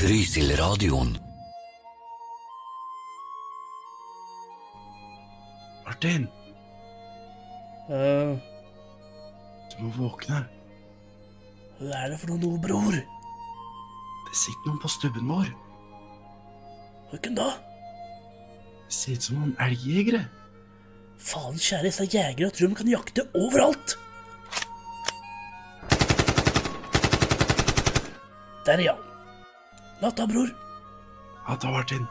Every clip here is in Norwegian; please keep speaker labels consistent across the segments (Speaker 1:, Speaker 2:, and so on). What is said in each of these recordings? Speaker 1: Rysilradioen.
Speaker 2: Martin,
Speaker 3: Eh,
Speaker 2: du må våkne.
Speaker 3: hva er det for noe nå, bror?
Speaker 2: Det sitter noen på stubben vår.
Speaker 3: Hvem da?
Speaker 2: Det ser ut som noen elgjegere.
Speaker 3: Faen kjære, disse jegere tror de kan jakte overalt! Der, ja. Natta, bror.
Speaker 2: Ja, da, Martin.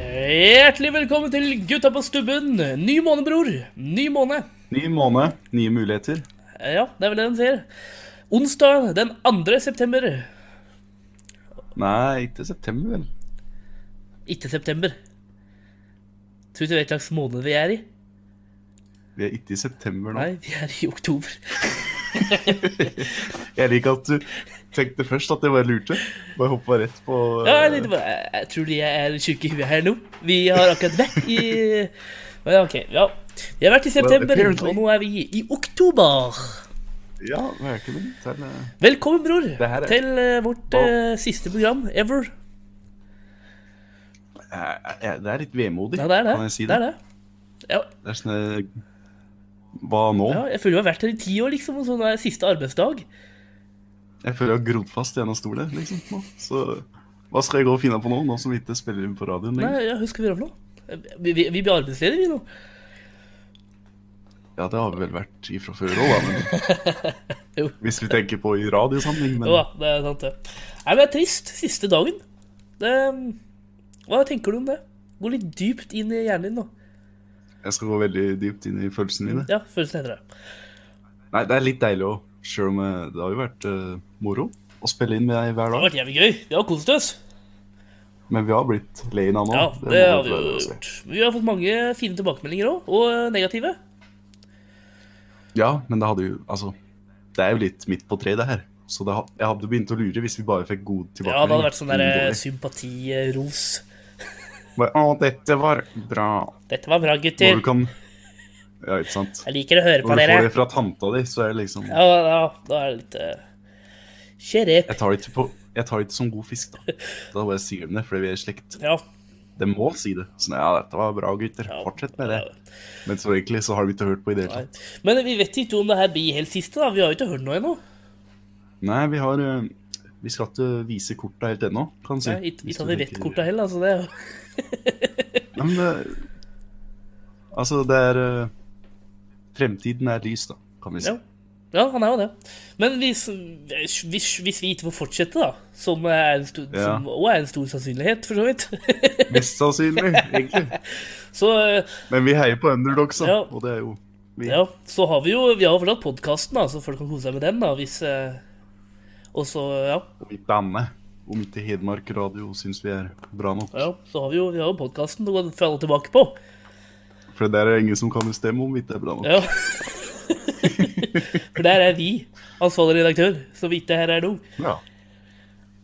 Speaker 3: Hjertelig velkommen til Gutta på stubben. Ny måned, bror. Ny måned.
Speaker 2: Ny måned, nye muligheter.
Speaker 3: Eh, Ja, det er vel det den sier. Onsdag den 2. september.
Speaker 2: Nei, ikke september, vel.
Speaker 3: Ikke september. Tror du ikke vet hva slags måned vi er i?
Speaker 2: Vi er ikke i september nå.
Speaker 3: Nei, vi er i oktober.
Speaker 2: Jeg liker at du tenkte først at jeg bare lurte. Bare hoppa rett på
Speaker 3: Ja, jeg, tenkte bare, jeg- jeg tror de er tjukke i huet her nå. Vi har akkurat vært i Men ok, ja. Vi har vært i september,
Speaker 2: Well, apparently.
Speaker 3: og nå er vi i oktober.
Speaker 2: eh, Ja, velkommen til eh,
Speaker 3: Velkommen, bror,
Speaker 2: her er-
Speaker 3: til eh, vårt eh, siste program ever.
Speaker 2: eh, eh, Det er litt vemodig,
Speaker 3: Ja, det er det.
Speaker 2: kan jeg si
Speaker 3: det,
Speaker 2: det.
Speaker 3: er det. Ja,
Speaker 2: Det er sånn eh, Hva nå?
Speaker 3: ja, jeg føler jeg har vært her i ti år, liksom, og så nå er det siste arbeidsdag.
Speaker 2: Jeg føler jeg har grodd fast i en av stolene, liksom. nå. Så hva skal jeg gå og finne på nå, nå som vi ikke spiller inn på radioen lenger?
Speaker 3: Nei, ja, hva skal vi gjøre for noe? Vi, vi, vi blir arbeidsledige, vi nå.
Speaker 2: Ja, det har vi vel vært ifra før òg, da. Men...
Speaker 3: Jo.
Speaker 2: Hvis vi tenker på i radiosammenheng, men
Speaker 3: Jo da, det er sant, det. Nei, men det er trist. Siste dagen. Det, ehm, hva tenker du om det? Gå litt dypt inn i hjernen din nå.
Speaker 2: jeg skal gå veldig dypt inn i følelsene mine.
Speaker 3: Ja, følelsen heter det.
Speaker 2: Nei, det er litt deilig òg, sjøl om eh, det har jo vært eh, moro å spille inn med deg hver
Speaker 3: Det har
Speaker 2: dag.
Speaker 3: vært jævlig gøy. Vi har kost oss.
Speaker 2: Men vi har blitt leina nå.
Speaker 3: Ja,
Speaker 2: må
Speaker 3: det har vi
Speaker 2: være
Speaker 3: jo
Speaker 2: lov å si.
Speaker 3: gjort. Vi har fått mange fine tilbakemeldinger òg, og eh, negative.
Speaker 2: Ja, men det hadde jo Altså, det er jo litt midt på treet, det her. Så det, ha- jeg hadde begynt å lure hvis vi bare fikk god
Speaker 3: Ja, det
Speaker 2: tilbakemelding.
Speaker 3: hadde vært sånn der eh,
Speaker 2: Dårlig.
Speaker 3: sympatiros.
Speaker 2: Bare, Å, dette var bra.
Speaker 3: Dette var bra,
Speaker 2: Når
Speaker 3: gutter.
Speaker 2: du kan Ja, ikke sant.
Speaker 3: Jeg liker å høre på
Speaker 2: Når du
Speaker 3: dere.
Speaker 2: får det fra tanta di, så er det liksom
Speaker 3: Ja, ja, da er det litt eh, Sheriff.
Speaker 2: Jeg tar det ikke, på, jeg tar det ikke som god fisk, da. Da bare sier de det, fordi vi er i slekt.
Speaker 3: Ja.
Speaker 2: De må si det. Sånn, ja, dette var bra, gutter.
Speaker 3: Ja.
Speaker 2: Fortsett med det. Men så egentlig så har vi ikke hørt på i det hele
Speaker 3: Nei.
Speaker 2: tatt.
Speaker 3: Men vi vet ikke om det her blir helt siste, da. Vi har jo ikke hørt noe ennå.
Speaker 2: Nei, vi har eh, Vi skal ikke vise korta helt ennå, kan du si.
Speaker 3: Nei, Ikke
Speaker 2: Hvis
Speaker 3: ikke at
Speaker 2: du
Speaker 3: vi vet
Speaker 2: tenker-
Speaker 3: korta heller, altså. Det er jo
Speaker 2: Nei, men det, Altså, det er eh, Fremtiden er lys, da, kan vi si.
Speaker 3: Ja. Ja, han er jo det. Men hvis, hvis, hvis vi ikke får fortsette, da, som er en stor,
Speaker 2: Ja.
Speaker 3: som også er en stor sannsynlighet, for så vidt
Speaker 2: Mest sannsynlig, egentlig.
Speaker 3: Så eh,
Speaker 2: Men vi heier på underdogs, da.
Speaker 3: Ja.
Speaker 2: Og det er jo vi.
Speaker 3: Ja, så har vi jo Vi har jo fortsatt podkasten, da, så folk kan kose seg med den, da, hvis eh, Og så, ja,
Speaker 2: Om ikke annet. Om ikke Hedmark Radio syns vi er bra nok.
Speaker 3: ja. Så har vi jo, vi har jo podkasten å falle tilbake på.
Speaker 2: For der er det ingen som kan bestemme om vi ikke er bra nok.
Speaker 3: Ja. For der er vi, ansvarlig redaktør, som ikke her er nå.
Speaker 2: Ja.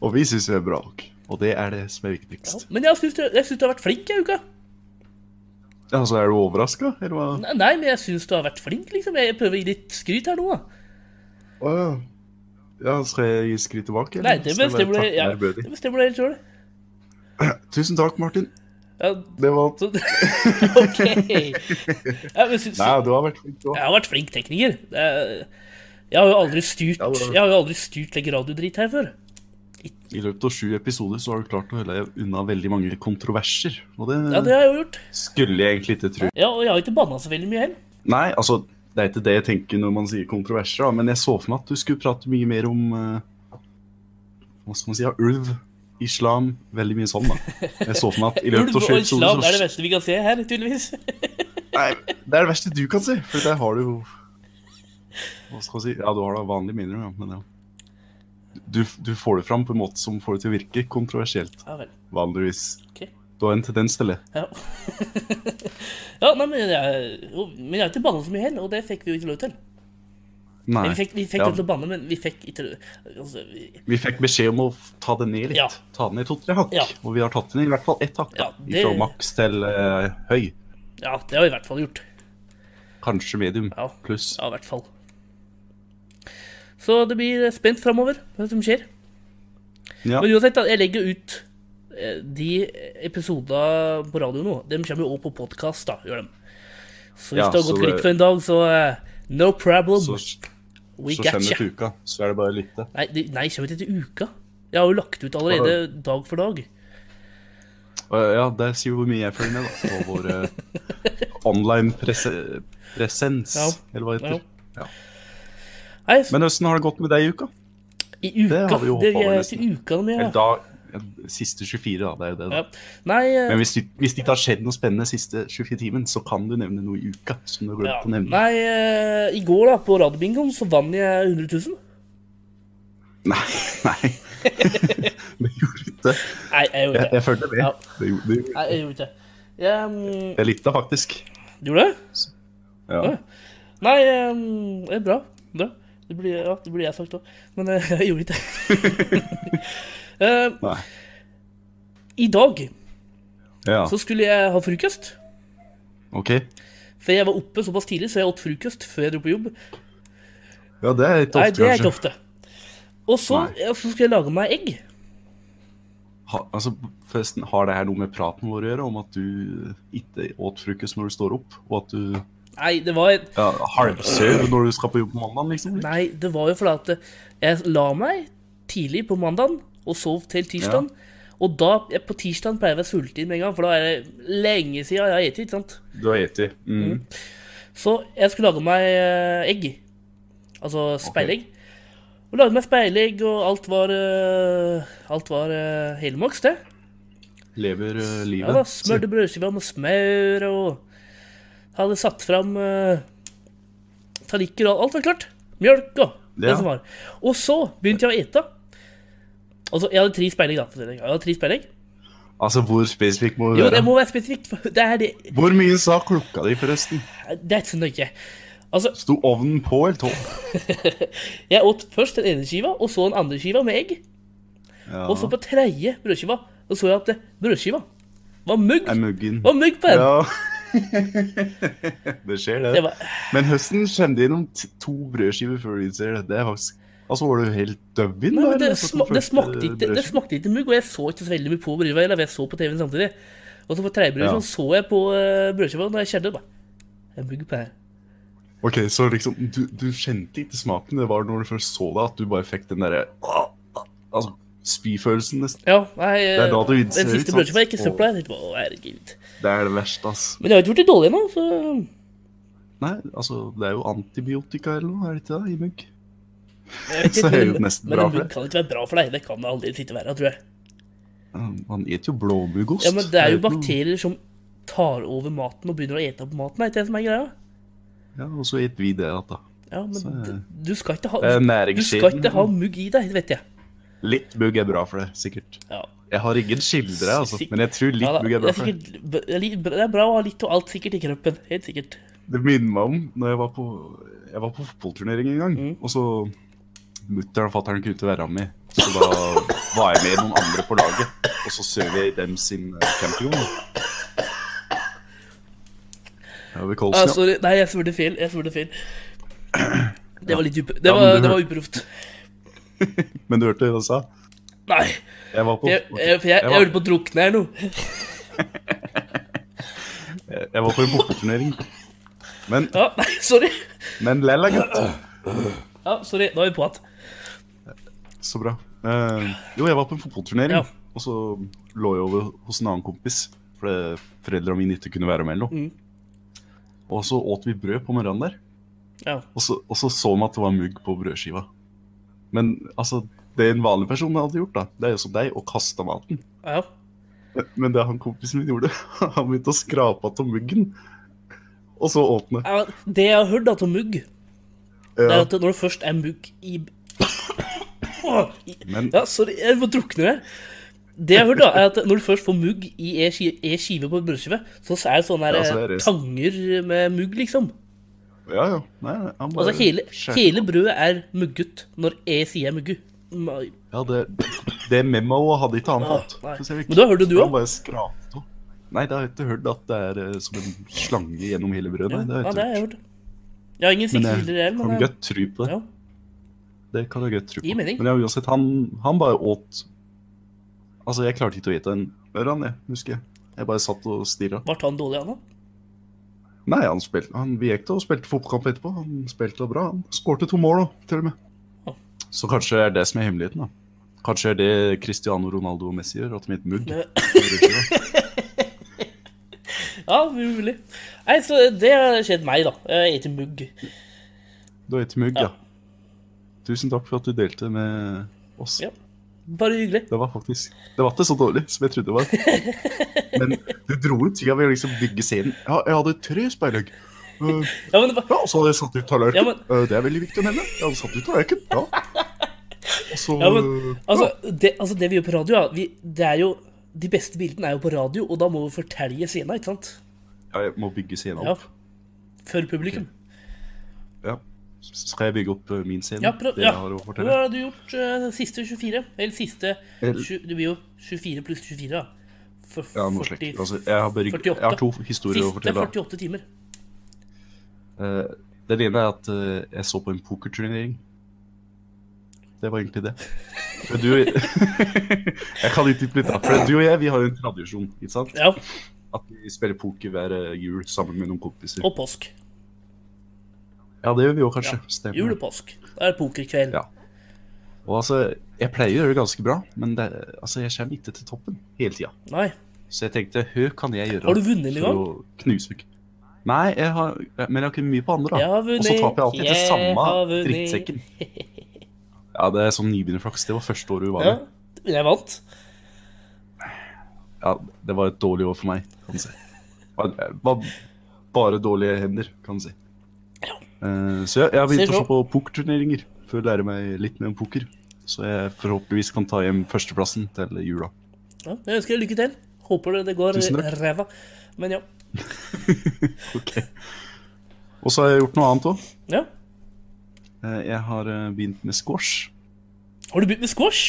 Speaker 2: Og vi syns vi er bra nok. Og det er det som er
Speaker 3: Ja.
Speaker 2: viktigst.
Speaker 3: Men jeg syns du, jeg synes du har vært flink i uka.
Speaker 2: Ja, så Altså, er du overraska, eller hva?
Speaker 3: Nei, Nei, men jeg syns du har vært flink, liksom. Jeg prøver å gi litt skryt her nå, da.
Speaker 2: Å ja. ja. Skal jeg gi skryt tilbake?
Speaker 3: Nei, det
Speaker 2: Skal jeg bare
Speaker 3: bestemmer du
Speaker 2: takke
Speaker 3: ja,
Speaker 2: deg ærbødig?
Speaker 3: det bestemmer du helt sjøl.
Speaker 2: Tusen takk, Martin.
Speaker 3: Ja,
Speaker 2: Det var alt.
Speaker 3: så OK. Ja, men syns-
Speaker 2: Nei, du har vært flink, du òg.
Speaker 3: Jeg har vært flink tekniker. Det er- Jeg har jo aldri styrt
Speaker 2: Ja, det-
Speaker 3: Jeg har jo aldri styrt like radiodrit her før.
Speaker 2: I løpet av sju episoder så har du klart å holde deg unna veldig mange kontroverser. Og det,
Speaker 3: Ja, det har jeg jo gjort.
Speaker 2: skulle jeg egentlig ikke tro.
Speaker 3: Ja, Og jeg har ikke banna så veldig mye heller.
Speaker 2: Nei, altså, det er ikke det jeg tenker når man sier kontroverser, da, men jeg så for meg at du skulle prate mye mer om eh, Hva skal man si? Ja, ulv, islam, veldig mye sånn, da. Jeg så for meg at i løpet
Speaker 3: Ulv
Speaker 2: av sju
Speaker 3: og
Speaker 2: episoder
Speaker 3: islam
Speaker 2: så
Speaker 3: er det beste vi kan se her, tydeligvis.
Speaker 2: Nei, det er det verste du kan si, for der har du jo Hva skal man si? Ja, du har da vanlige minner, ja, men ja. Du, du får det fram på en måte som får det til å virke kontroversielt,
Speaker 3: Ja vel.
Speaker 2: vanligvis.
Speaker 3: Ok.
Speaker 2: Du har en tendens til det.
Speaker 3: Ja. ja, nei, men jeg, jo, men jeg har ikke banna så mye heller, og det fikk vi jo ikke lov til.
Speaker 2: Nei.
Speaker 3: Men vi fikk, vi fikk
Speaker 2: Ja.
Speaker 3: lov til å banne, men vi fikk ikke altså, vi,
Speaker 2: Vi fikk beskjed om å ta det ned litt.
Speaker 3: Ja.
Speaker 2: Ta det ned to-tre hakk.
Speaker 3: Ja.
Speaker 2: Og vi har tatt det ned i hvert fall ett hakk. da.
Speaker 3: Ja, det-
Speaker 2: Fra maks til eh, høy.
Speaker 3: Ja, det har vi i hvert fall gjort.
Speaker 2: Kanskje medium
Speaker 3: Ja.
Speaker 2: pluss.
Speaker 3: Ja, i hvert fall. Så det blir spent framover, hva som skjer.
Speaker 2: Ja.
Speaker 3: Men uansett, da, jeg legger jo ut eh, de episodene på radio nå. De kommer jo også på podkast, da. gjør de. Så hvis
Speaker 2: Ja,
Speaker 3: du har
Speaker 2: så
Speaker 3: gått
Speaker 2: det-
Speaker 3: glipp av en dag, så eh, no problem.
Speaker 2: Så,
Speaker 3: We
Speaker 2: så
Speaker 3: got
Speaker 2: kjenner
Speaker 3: you.
Speaker 2: du uka, så er det bare å lytte.
Speaker 3: Nei, det, nei, kommer ikke til uka. Jeg har jo lagt ut allerede dag for dag.
Speaker 2: Og, eh, ja, der sier du hvor mye jeg følger med, da. På vår eh, online prese presens,
Speaker 3: Ja.
Speaker 2: eller hva det heter. Ja.
Speaker 3: Nei, så,
Speaker 2: Men åssen har det gått med deg i uka?
Speaker 3: i uka.
Speaker 2: det har vi jo
Speaker 3: det
Speaker 2: hoppet over
Speaker 3: er
Speaker 2: nesten.
Speaker 3: ikke uka noe mer.
Speaker 2: Eller
Speaker 3: da.
Speaker 2: da ja, Siste 24, da. Det er jo det, da.
Speaker 3: Ja. Nei, eh,
Speaker 2: Men hvis, du, hvis det ikke har skjedd noe spennende siste 24-timen, så kan du nevne noe i uka som du har
Speaker 3: ja.
Speaker 2: glemt å nevne.
Speaker 3: nei eh, i går, da, på radiobingoen, så vant jeg 100 000.
Speaker 2: Nei. nei. det gjorde du ikke.
Speaker 3: Nei, jeg
Speaker 2: Jeg,
Speaker 3: gjorde ikke det.
Speaker 2: jeg følte med.
Speaker 3: Ja.
Speaker 2: Det gjorde, det gjorde.
Speaker 3: Nei, jeg gjorde ikke det. Jeg, mm,
Speaker 2: Jeg lytta faktisk.
Speaker 3: du gjorde det?
Speaker 2: Ja.
Speaker 3: Oi. Nei, ehm, det er bra. bra. Det blir, ja, det blir jeg sagt òg. Men eh, jeg gjorde ikke det. Eh,
Speaker 2: Nei.
Speaker 3: I dag
Speaker 2: Ja.
Speaker 3: så skulle jeg ha frokost.
Speaker 2: OK.
Speaker 3: For jeg var oppe såpass tidlig, så jeg åt frokost før jeg dro på jobb.
Speaker 2: Ja, det er ikke
Speaker 3: Nei,
Speaker 2: ofte,
Speaker 3: det er ikke
Speaker 2: kanskje.
Speaker 3: ofte. Og så,
Speaker 2: Nei.
Speaker 3: ja, så skulle jeg lage meg egg.
Speaker 2: Ha, altså, forresten, har det her noe med praten vår å gjøre, om at du ikke åt frokost når du står opp, og at du
Speaker 3: Nei, det var,
Speaker 2: ja, halvsøv når du skal på jobb på mandag, liksom?
Speaker 3: nei, det var jo fordi at eh, jeg la meg tidlig på mandagen og sov til tirsdag. Og da, jeg, på tirsdag pleier jeg å være sulten med en gang, for da er det lenge siden jeg har spist. ikke sant?
Speaker 2: Du har spist. Mm.
Speaker 3: Så jeg skulle lage meg eh, egg. Altså speilegg. Og lagde meg speilegg, og alt var eh, Alt var eh, helmaks, det.
Speaker 2: Lever eh,
Speaker 3: Ja da,
Speaker 2: livet.
Speaker 3: Smørte brødskiva med smør, og hadde satt fram uh, tallikker og alt var klart. Mjølk og det
Speaker 2: Ja.
Speaker 3: som var. Og så begynte jeg å ete. Altså, jeg hadde tre speilegg, da. for å si det. Jeg hadde tre speilegg.
Speaker 2: Altså, hvor spesifikk må du
Speaker 3: Jo, det
Speaker 2: være?
Speaker 3: må være spesifikt. for Det er, det,
Speaker 2: Hvor mye sa klokka di, forresten?
Speaker 3: det er ikke så nøye. Altså,
Speaker 2: Sto ovnen på eller tå?
Speaker 3: Jeg åt først den ene skiva, og så den andre skiva med egg.
Speaker 2: Ja.
Speaker 3: Og så på tredje brødskiva så så jeg at eh, brødskiva var mugg.
Speaker 2: Er muggen.
Speaker 3: Var mugg på den.
Speaker 2: Ja. det skjer, det.
Speaker 3: Det var,
Speaker 2: Men høsten kjenner gjennom t- to brødskiver før du innser det. Det er faktisk Altså, var du helt døvin
Speaker 3: nei,
Speaker 2: da?
Speaker 3: men det,
Speaker 2: eller?
Speaker 3: sma,
Speaker 2: På den
Speaker 3: det,
Speaker 2: første
Speaker 3: smakte ikke, det
Speaker 2: brødskiven?
Speaker 3: smakte ikke mugg, og jeg så ikke så veldig mye på brødskiva. Eller jeg så på TV-en samtidig. Og så på tredje brødskiva
Speaker 2: Ja.
Speaker 3: så jeg på eh, brødskiva, og da jeg kjente det, bare Det er mugg på den.
Speaker 2: Ok, så liksom du, du kjente ikke smaken. Det var når du først så det, at du bare fikk den derre ah, ah, Altså spyfølelsen, nesten.
Speaker 3: Ja, nei, eh,
Speaker 2: Det er da du innser,
Speaker 3: den
Speaker 2: ikke
Speaker 3: siste
Speaker 2: sant?
Speaker 3: brødskiva gikk i
Speaker 2: Og-
Speaker 3: søpla. Jeg tenkte bare, å, herregud.
Speaker 2: Det er det verste, ass.
Speaker 3: Men jeg har ikke gjort det dårlig ennå, så
Speaker 2: Nei, altså, det er jo antibiotika eller noe, er det ikke det? I mugg?
Speaker 3: jeg vet
Speaker 2: Så
Speaker 3: ikke,
Speaker 2: er det jo
Speaker 3: men-
Speaker 2: nesten
Speaker 3: Men
Speaker 2: bra
Speaker 3: en
Speaker 2: for
Speaker 3: mugg
Speaker 2: deg.
Speaker 3: kan ikke være bra for deg. Det kan det aldri ikke være, tror jeg.
Speaker 2: Man spiser jo blåmuggost.
Speaker 3: Ja, men det er jo
Speaker 2: ikke noe-
Speaker 3: bakterier som tar over maten og begynner å ete opp maten, er ikke det som er greia?
Speaker 2: Ja, og så spiser vi det igjen, da.
Speaker 3: Ja, men
Speaker 2: Så, eh,
Speaker 3: d- du skal ikke ha,
Speaker 2: Det er
Speaker 3: du skal
Speaker 2: næringskjeden.
Speaker 3: ikke ha mugg i deg, vet jeg.
Speaker 2: Litt mugg er bra for det, sikkert.
Speaker 3: Ja.
Speaker 2: Jeg har ingen kilder, jeg, altså.
Speaker 3: Sikk-
Speaker 2: Men jeg tror litt
Speaker 3: Ja, da,
Speaker 2: mugg er
Speaker 3: det,
Speaker 2: bra
Speaker 3: er
Speaker 2: for det.
Speaker 3: sikkert, b- det er li- det er bra å ha litt og alt sikkert i kroppen. Helt sikkert.
Speaker 2: Det minner meg om når jeg var på, jeg var på fotballturnering en gang.
Speaker 3: Mm.
Speaker 2: Og så Mutter'n og fatter'n kunne ikke være med. Så da var jeg med noen andre på laget. Og så sov jeg i dem sin eh, campingvogn. Det var ved
Speaker 3: Ah,
Speaker 2: Kolsen, ja.
Speaker 3: sorry. Nei, jeg svarte feil. Jeg svarte feil. Det var litt uproft. Det,
Speaker 2: Ja, men
Speaker 3: var-
Speaker 2: du
Speaker 3: det
Speaker 2: hør-
Speaker 3: var uproft.
Speaker 2: Men du hørte hva jeg sa?
Speaker 3: Nei.
Speaker 2: Jeg var på,
Speaker 3: Jeg, jeg, for jeg, jeg
Speaker 2: var,
Speaker 3: hørte på å drukne her nå.
Speaker 2: jeg var på en fotballturnering. Men,
Speaker 3: Ja, nei, sorry.
Speaker 2: men lella, gutt.
Speaker 3: Ja, sorry. Da er vi på igjen.
Speaker 2: Så bra. Eh, jo, jeg var på en fotballturnering,
Speaker 3: Ja.
Speaker 2: og så lå jeg over hos en annen kompis. Fordi foreldrene mine ikke kunne være med. eller noe.
Speaker 3: Mm.
Speaker 2: Og så åt vi brød på morgenen der,
Speaker 3: Ja.
Speaker 2: og så, og så så vi at det var mugg på brødskiva. Men altså, det en vanlig person hadde gjort, da, det er jo som deg, å kaste maten.
Speaker 3: Ja.
Speaker 2: Men det han kompisen min gjorde, han begynte å skrape av muggen. og så åpne.
Speaker 3: Ja, Det jeg har hørt da til mugg, det er
Speaker 2: Ja,
Speaker 3: at når det først er mugg i Åh, i-
Speaker 2: men
Speaker 3: Ja, sorry, jeg må drukne her. Det jeg har hørt, da, er at når du først får mugg i ei ski- ei skive på en brødskive, så er det sånne her, eh,
Speaker 2: Ja, så er det-
Speaker 3: tanger med mugg, liksom.
Speaker 2: Ja, ja. Nei, nei, han bare
Speaker 3: Altså, hele,
Speaker 2: skjær-
Speaker 3: hele brødet er mugget når jeg sier muggu. Nei.
Speaker 2: Ja, det, det memoet hadde ikke han fått.
Speaker 3: Nei.
Speaker 2: for å si det
Speaker 3: Men du har hørt det, du
Speaker 2: Han
Speaker 3: òg?
Speaker 2: bare skrapte. Nei, det har jeg ikke hørt at det er eh, som en slange gjennom hele brødet.
Speaker 3: Ja,
Speaker 2: Nei, det har jeg
Speaker 3: det har jeg
Speaker 2: ikke hørt.
Speaker 3: hørt. Jeg har ingen
Speaker 2: Men eh,
Speaker 3: sikre kilder,
Speaker 2: jeg
Speaker 3: jeg,
Speaker 2: kan
Speaker 3: men eh,
Speaker 2: godt tro på det.
Speaker 3: ja.
Speaker 2: Det kan jeg godt tro på.
Speaker 3: Gir mening.
Speaker 2: Men ja, uansett, han, han bare åt Altså, jeg klarte ikke å ete en ørn, jeg, husker jeg. Jeg bare satt og stirra.
Speaker 3: Ble han dårlig, han da?
Speaker 2: Nei, han spilte Han vi gikk da og spilte fotballkamp etterpå. Han spilte bra. Han skårte to mål, da, til og
Speaker 3: Ja.
Speaker 2: med. Så kanskje det er det som er hemmeligheten, da. Kanskje er det Cristiano Ronaldo og Messi gjør, at de ikke mugg.
Speaker 3: Det- Ja, mulig. Nei, så det har skjedd meg, da. Jeg spiser mugg.
Speaker 2: Du er ikke mugg,
Speaker 3: Ja.
Speaker 2: ja. Tusen takk for at du delte med oss.
Speaker 3: Ja. Bare hyggelig.
Speaker 2: Det var faktisk Det var ikke så dårlig som jeg trodde det var. Men du dro ut tida ved å liksom bygge scenen. Ja, jeg hadde tre speiløgg. Uh,
Speaker 3: Ja, men det var
Speaker 2: ja, og så hadde jeg satt ut tallerken.
Speaker 3: Ja, men-
Speaker 2: Eh, det er veldig viktig å nevne. Jeg hadde satt ut tallerken. Ja. Og så
Speaker 3: Ja, men altså det, altså, det vi gjør på radio, ja, vi, det er jo De beste bildene er jo på radio, og da må vi fortelle scenen, ikke sant?
Speaker 2: ja, jeg må bygge scenen
Speaker 3: Ja.
Speaker 2: opp.
Speaker 3: For publikum.
Speaker 2: Ja. Skal jeg bygge opp eh, min scene?
Speaker 3: Ja, prøv,
Speaker 2: det
Speaker 3: ja.
Speaker 2: jeg har å
Speaker 3: Hva
Speaker 2: fortelle?
Speaker 3: har du gjort eh, siste 24? Eller siste
Speaker 2: Eller-
Speaker 3: sju- Det blir jo 24 pluss 24, da. For,
Speaker 2: Ja, noe
Speaker 3: 40
Speaker 2: slikt. Altså, jeg, har bare, jeg
Speaker 3: 48.
Speaker 2: har to historier å
Speaker 3: Siste
Speaker 2: fortelle. da.
Speaker 3: 48 timer.
Speaker 2: Eh, Den ene er at eh, jeg så på en pokerturnering. Det var egentlig det. Men du Jeg kan ikke bli tatt for det. Du og jeg vi har jo en tradisjon. ikke sant?
Speaker 3: Ja,
Speaker 2: At vi spiller poker hver eh, jul sammen med noen kompiser.
Speaker 3: og påsk.
Speaker 2: Ja, det gjør vi òg, kanskje.
Speaker 3: Ja. Jul
Speaker 2: Stemmer.
Speaker 3: og påsk. Det er pokerkveld.
Speaker 2: Ja. Og altså, jeg pleier å gjøre det ganske bra, men det, altså, jeg kommer ikke til toppen hele tida.
Speaker 3: Nei.
Speaker 2: Så jeg tenkte hø kan jeg gjøre
Speaker 3: Har du vunnet
Speaker 2: for
Speaker 3: noen gang?
Speaker 2: å knuse Nei, jeg har, men jeg har ikke mye på andre. da.
Speaker 3: Jeg har vunnet,
Speaker 2: Og så taper jeg alltid til
Speaker 3: jeg
Speaker 2: samme
Speaker 3: har vunnet.
Speaker 2: drittsekken. Ja, det er sånn nybegynnerflaks. Det var første året hun var
Speaker 3: Ja,
Speaker 2: med.
Speaker 3: jeg vant.
Speaker 2: Ja, det var et dårlig år for meg, kan du si. Det var bare dårlige hender, kan du si. Eh, så jeg, jeg har begynt
Speaker 3: Ser
Speaker 2: å
Speaker 3: så.
Speaker 2: se på pokerturneringer for å lære meg litt mer om poker. Så jeg forhåpentligvis kan ta hjem førsteplassen til jula.
Speaker 3: Ja, jeg ønsker deg lykke til. Håper det- det går
Speaker 2: Tusen takk.
Speaker 3: ræva. Men ja.
Speaker 2: Ok. Og så har jeg gjort noe annet òg.
Speaker 3: ja.
Speaker 2: jeg har eh, begynt med squash.
Speaker 3: Har du begynt med squash?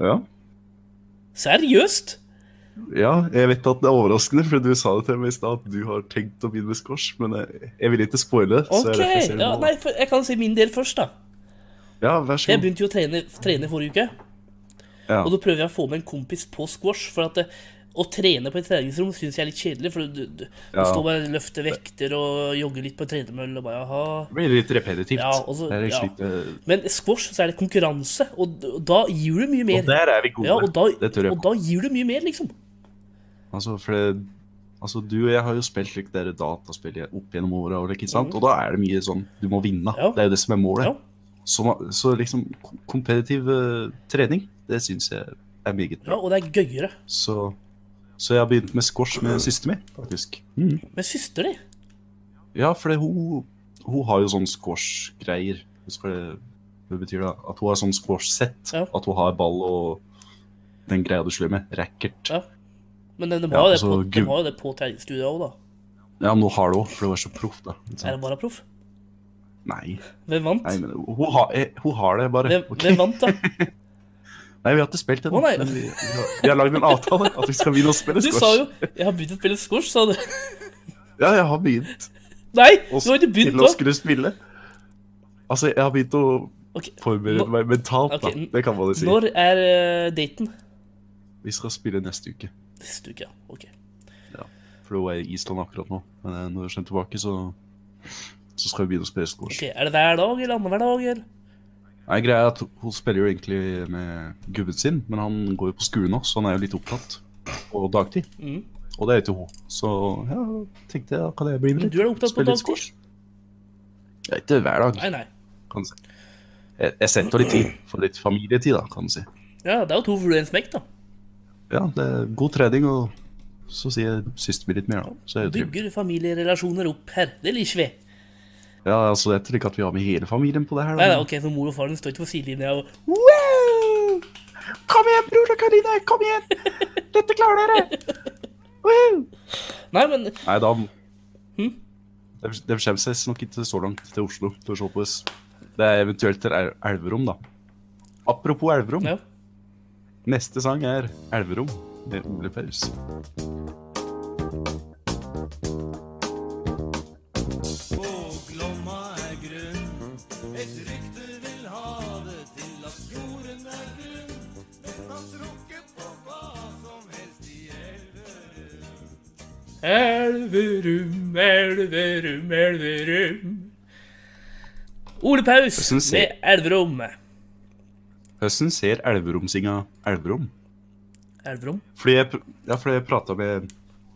Speaker 2: Ja.
Speaker 3: Seriøst?
Speaker 2: Ja, jeg vet at det er overraskende, for du sa det til meg i stad at du har tenkt å begynne med squash, men jeg, jeg vil ikke spoile. det, så jeg
Speaker 3: OK.
Speaker 2: derfor sier det
Speaker 3: Ja,
Speaker 2: nå.
Speaker 3: nei, for jeg kan si min del først, da.
Speaker 2: ja, vær så
Speaker 3: Jeg
Speaker 2: god.
Speaker 3: begynte jo å trene, trene forrige uke.
Speaker 2: Mm. Ja.
Speaker 3: Og da prøver jeg å få med en kompis på squash. For at eh, å trene på et treningsrom syns jeg er litt kjedelig. For du, du, du
Speaker 2: Ja.
Speaker 3: står bare og løfter vekter og jogger litt på en tredemølle og bare jaha.
Speaker 2: Det blir litt repetitivt.
Speaker 3: Ja, og så-
Speaker 2: det er
Speaker 3: ja.
Speaker 2: liksom ikke-
Speaker 3: Men squash, så er det konkurranse, og d- og da gir du mye
Speaker 2: Og
Speaker 3: mer.
Speaker 2: der er vi gode.
Speaker 3: Ja, og da,
Speaker 2: det tør jeg
Speaker 3: og da gir du mye mer, liksom.
Speaker 2: på. Altså, for det, altså, du og jeg har jo spilt like, dere dataspill opp gjennom åra, og, like, ikke sant? og da er det mye sånn Du må vinne.
Speaker 3: Mhm. Ja.
Speaker 2: Det er jo det som er målet.
Speaker 3: Ja.
Speaker 2: Så, ma- så liksom kom- kompetitiv eh, trening, det syns jeg er meget
Speaker 3: Ja,
Speaker 2: bra.
Speaker 3: og det er gøyere.
Speaker 2: Så, så jeg har begynt med squash med søsteren min, faktisk. Mm.
Speaker 3: Men søster di
Speaker 2: Ja, for det, hun, hun har jo sånn squash-greier. Husker du det- hva det betyr da? At hun har sånn squash-sett.
Speaker 3: Ja.
Speaker 2: At hun har ball og den greia du slår med. Racket.
Speaker 3: Ja.
Speaker 2: Ja,
Speaker 3: Men de, de,
Speaker 2: Ja,
Speaker 3: har jo det
Speaker 2: altså,
Speaker 3: på, de
Speaker 2: gud.
Speaker 3: har jo det på treningsstudiet òg, da.
Speaker 2: men hun har det òg, for hun er så proff, da. Ikke
Speaker 3: Er det
Speaker 2: sant?
Speaker 3: bare proff?
Speaker 2: Nei,
Speaker 3: Hvem vant?
Speaker 2: nei, men hun har, eh, hun har det bare.
Speaker 3: Hvem,
Speaker 2: ok?
Speaker 3: hvem vant, da?
Speaker 2: Nei, vi har ikke spilt det.
Speaker 3: Å, nei.
Speaker 2: men vi, vi har, vi har lagd en avtale at vi skal begynne å spille
Speaker 3: Du
Speaker 2: squash.
Speaker 3: sa jo 'jeg har begynt å spille squash', sa du.
Speaker 2: Ja, jeg har begynt.
Speaker 3: Nei, du
Speaker 2: Og
Speaker 3: har ikke begynt
Speaker 2: til å
Speaker 3: da.
Speaker 2: skulle spille. Altså, jeg har begynt å
Speaker 3: Ok,
Speaker 2: forberede
Speaker 3: nå-
Speaker 2: meg mentalt, da.
Speaker 3: ok,
Speaker 2: Det kan man jo si.
Speaker 3: Når er eh, daten?
Speaker 2: Vi skal spille neste uke.
Speaker 3: Neste uke, ja. Ok.
Speaker 2: For hun er i Island akkurat nå. Men eh, når jeg kommer tilbake, så, så skal vi begynne å spille squash.
Speaker 3: ok. Er det hver dag eller annenhver dag? Eller?
Speaker 2: Nei, greia er at Hun spiller jo egentlig med gubben sin, men han går jo på skole nå, så han er jo litt opptatt på dagtid.
Speaker 3: Mhm.
Speaker 2: Og det er jo ikke hun. Så ja, tenkte jeg, da kan jeg bli med
Speaker 3: Men
Speaker 2: litt?
Speaker 3: du er opptatt på
Speaker 2: Spille litt
Speaker 3: dagtid?
Speaker 2: squash. Ja, ikke hver dag,
Speaker 3: Nei, nei.
Speaker 2: kan du si. Jeg, jeg setter litt tid for litt familietid, da, kan du si.
Speaker 3: Ja, det er jo to fluer i en smekk, da.
Speaker 2: Ja, det er god trening og Så sier jeg sist blir litt mer, da. Så er det trivelig.
Speaker 3: Bygger familierelasjoner opp her. Det liker vi.
Speaker 2: Ja, altså, jeg tror ikke at vi har med hele familien på det her.
Speaker 3: Nei, nei,
Speaker 2: da.
Speaker 3: ok, så mor og far den står ikke på sidelinja og wow!
Speaker 2: Kom igjen, bror og Karine! Kom igjen! Dette klarer dere! Woo!
Speaker 3: Nei, men
Speaker 2: Nei, da De, de kommer seg nok ikke så langt til Oslo til å se på oss. Det er eventuelt til El- Elverum, da. Apropos Elverum.
Speaker 3: ja.
Speaker 2: Neste sang er Elverum med Ole Paus.
Speaker 3: Elverum, Elverum, Elverum. Ole Paus
Speaker 2: synes jeg-
Speaker 3: med Elverum.
Speaker 2: Høsten ser Elverumsinga Elverum.
Speaker 3: Elverum?
Speaker 2: Fordi jeg, pr- ja, fordi jeg prata med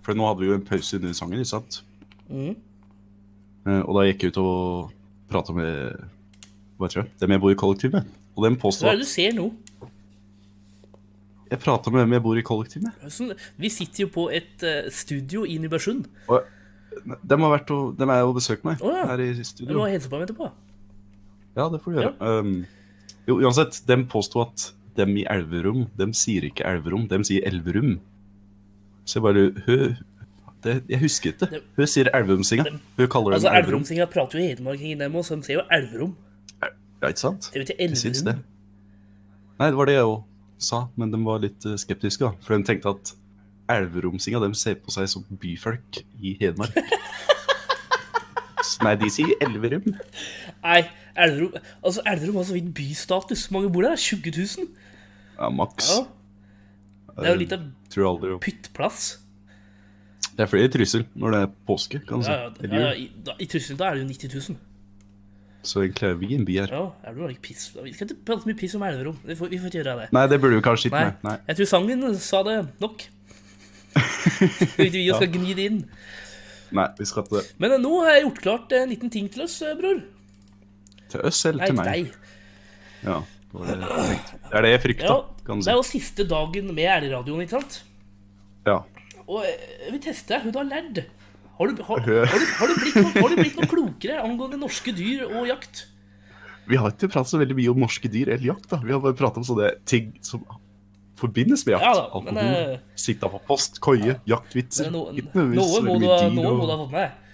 Speaker 2: For nå hadde vi jo en pause under sangen, ikke sant?
Speaker 3: Mhm.
Speaker 2: Eh, Og da gikk jeg ut og prata med hva heter det, dem jeg bor i kollektiv med. Og dem
Speaker 3: Hva
Speaker 2: påstod
Speaker 3: er det du ser nå?
Speaker 2: at jeg prata med dem jeg bor i kollektiv med.
Speaker 3: Sånn, Vi sitter jo på et eh, studio i Nybergsund.
Speaker 2: De har vært og, dem er jo og besøkt meg
Speaker 3: Å, ja.
Speaker 2: her i
Speaker 3: Du
Speaker 2: studio.
Speaker 3: må hilse på meg etterpå.
Speaker 2: Ja, det får du gjøre. Um, jo, uansett, dem påsto at dem i Elverum, dem sier ikke Elverum, dem sier Elverum. Så jeg bare Hø det, Jeg husker ikke.
Speaker 3: Dem-
Speaker 2: Hun sier Elverumsinga. Hun kaller dem
Speaker 3: Altså,
Speaker 2: Elverum.
Speaker 3: Elverumsinga prater jo hedmarking, dem også, så de ser sånn, jo Elverum.
Speaker 2: Ja, ikke sant?
Speaker 3: Det er jo ikke
Speaker 2: Jeg syns det.
Speaker 3: Elverum.
Speaker 2: Nei, det var det jeg òg sa, men de var litt eh, skeptiske, da. For de tenkte at elverumsinga de ser på seg som byfolk i Hedmark. S- Nei, de sier Elverum.
Speaker 3: Nei, Elverum Altså, Elverum har så vidt bystatus. Hvor mange bor der? 20 000?
Speaker 2: Ja, maks. Eh,
Speaker 3: Ja. Det er jo litt av
Speaker 2: Tror aldri jo.
Speaker 3: pyttplass.
Speaker 2: Det er flere i Trysil når det er påske, kan du si.
Speaker 3: Ja, ja,
Speaker 2: Eller
Speaker 3: ja, ja,
Speaker 2: jul.
Speaker 3: I, da, i Trysil da er det jo 90 000.
Speaker 2: Så egentlig er vi en by her.
Speaker 3: Ja, Elverum er ikke piss. Vi skal ikke prate så mye piss om Elverum. Vi får, vi får ikke gjøre det.
Speaker 2: Nei, det burde vi kanskje ikke.
Speaker 3: Nei.
Speaker 2: Nei. Nei.
Speaker 3: Jeg tror sangen sa det nok. Skal ikke vi skal gni det inn.
Speaker 2: Nei, vi skal til,
Speaker 3: Men eh, nå har jeg gjort klart eh, en liten ting til oss, eh, bror.
Speaker 2: til oss eller
Speaker 3: Nei,
Speaker 2: til
Speaker 3: til
Speaker 2: meg?
Speaker 3: deg.
Speaker 2: Ja, det, var det, jeg tenkte. det er det jeg frykta,
Speaker 3: Ja,
Speaker 2: kan du
Speaker 3: det
Speaker 2: si.
Speaker 3: er jo siste dagen med ærligradioen, ikke sant?
Speaker 2: Ja.
Speaker 3: Og jeg vil teste deg. Hun har lært. Har du, har, har, du, har, du blitt noe, har du blitt noe klokere angående norske dyr og jakt?
Speaker 2: Vi har ikke pratet så veldig mye om norske dyr eller jakt. da. Vi har bare pratet om sånne ting som forbindes med jakt.
Speaker 3: Ja da, men,
Speaker 2: Alkohol,
Speaker 3: eh,
Speaker 2: sitte på post, koie, jaktvitser.
Speaker 3: Men Noe,
Speaker 2: Ikke
Speaker 3: noe,
Speaker 2: nødvendigvis så
Speaker 3: må
Speaker 2: veldig
Speaker 3: du,
Speaker 2: mye
Speaker 3: ha-
Speaker 2: dyr
Speaker 3: noe
Speaker 2: og-
Speaker 3: må du ha fått med deg.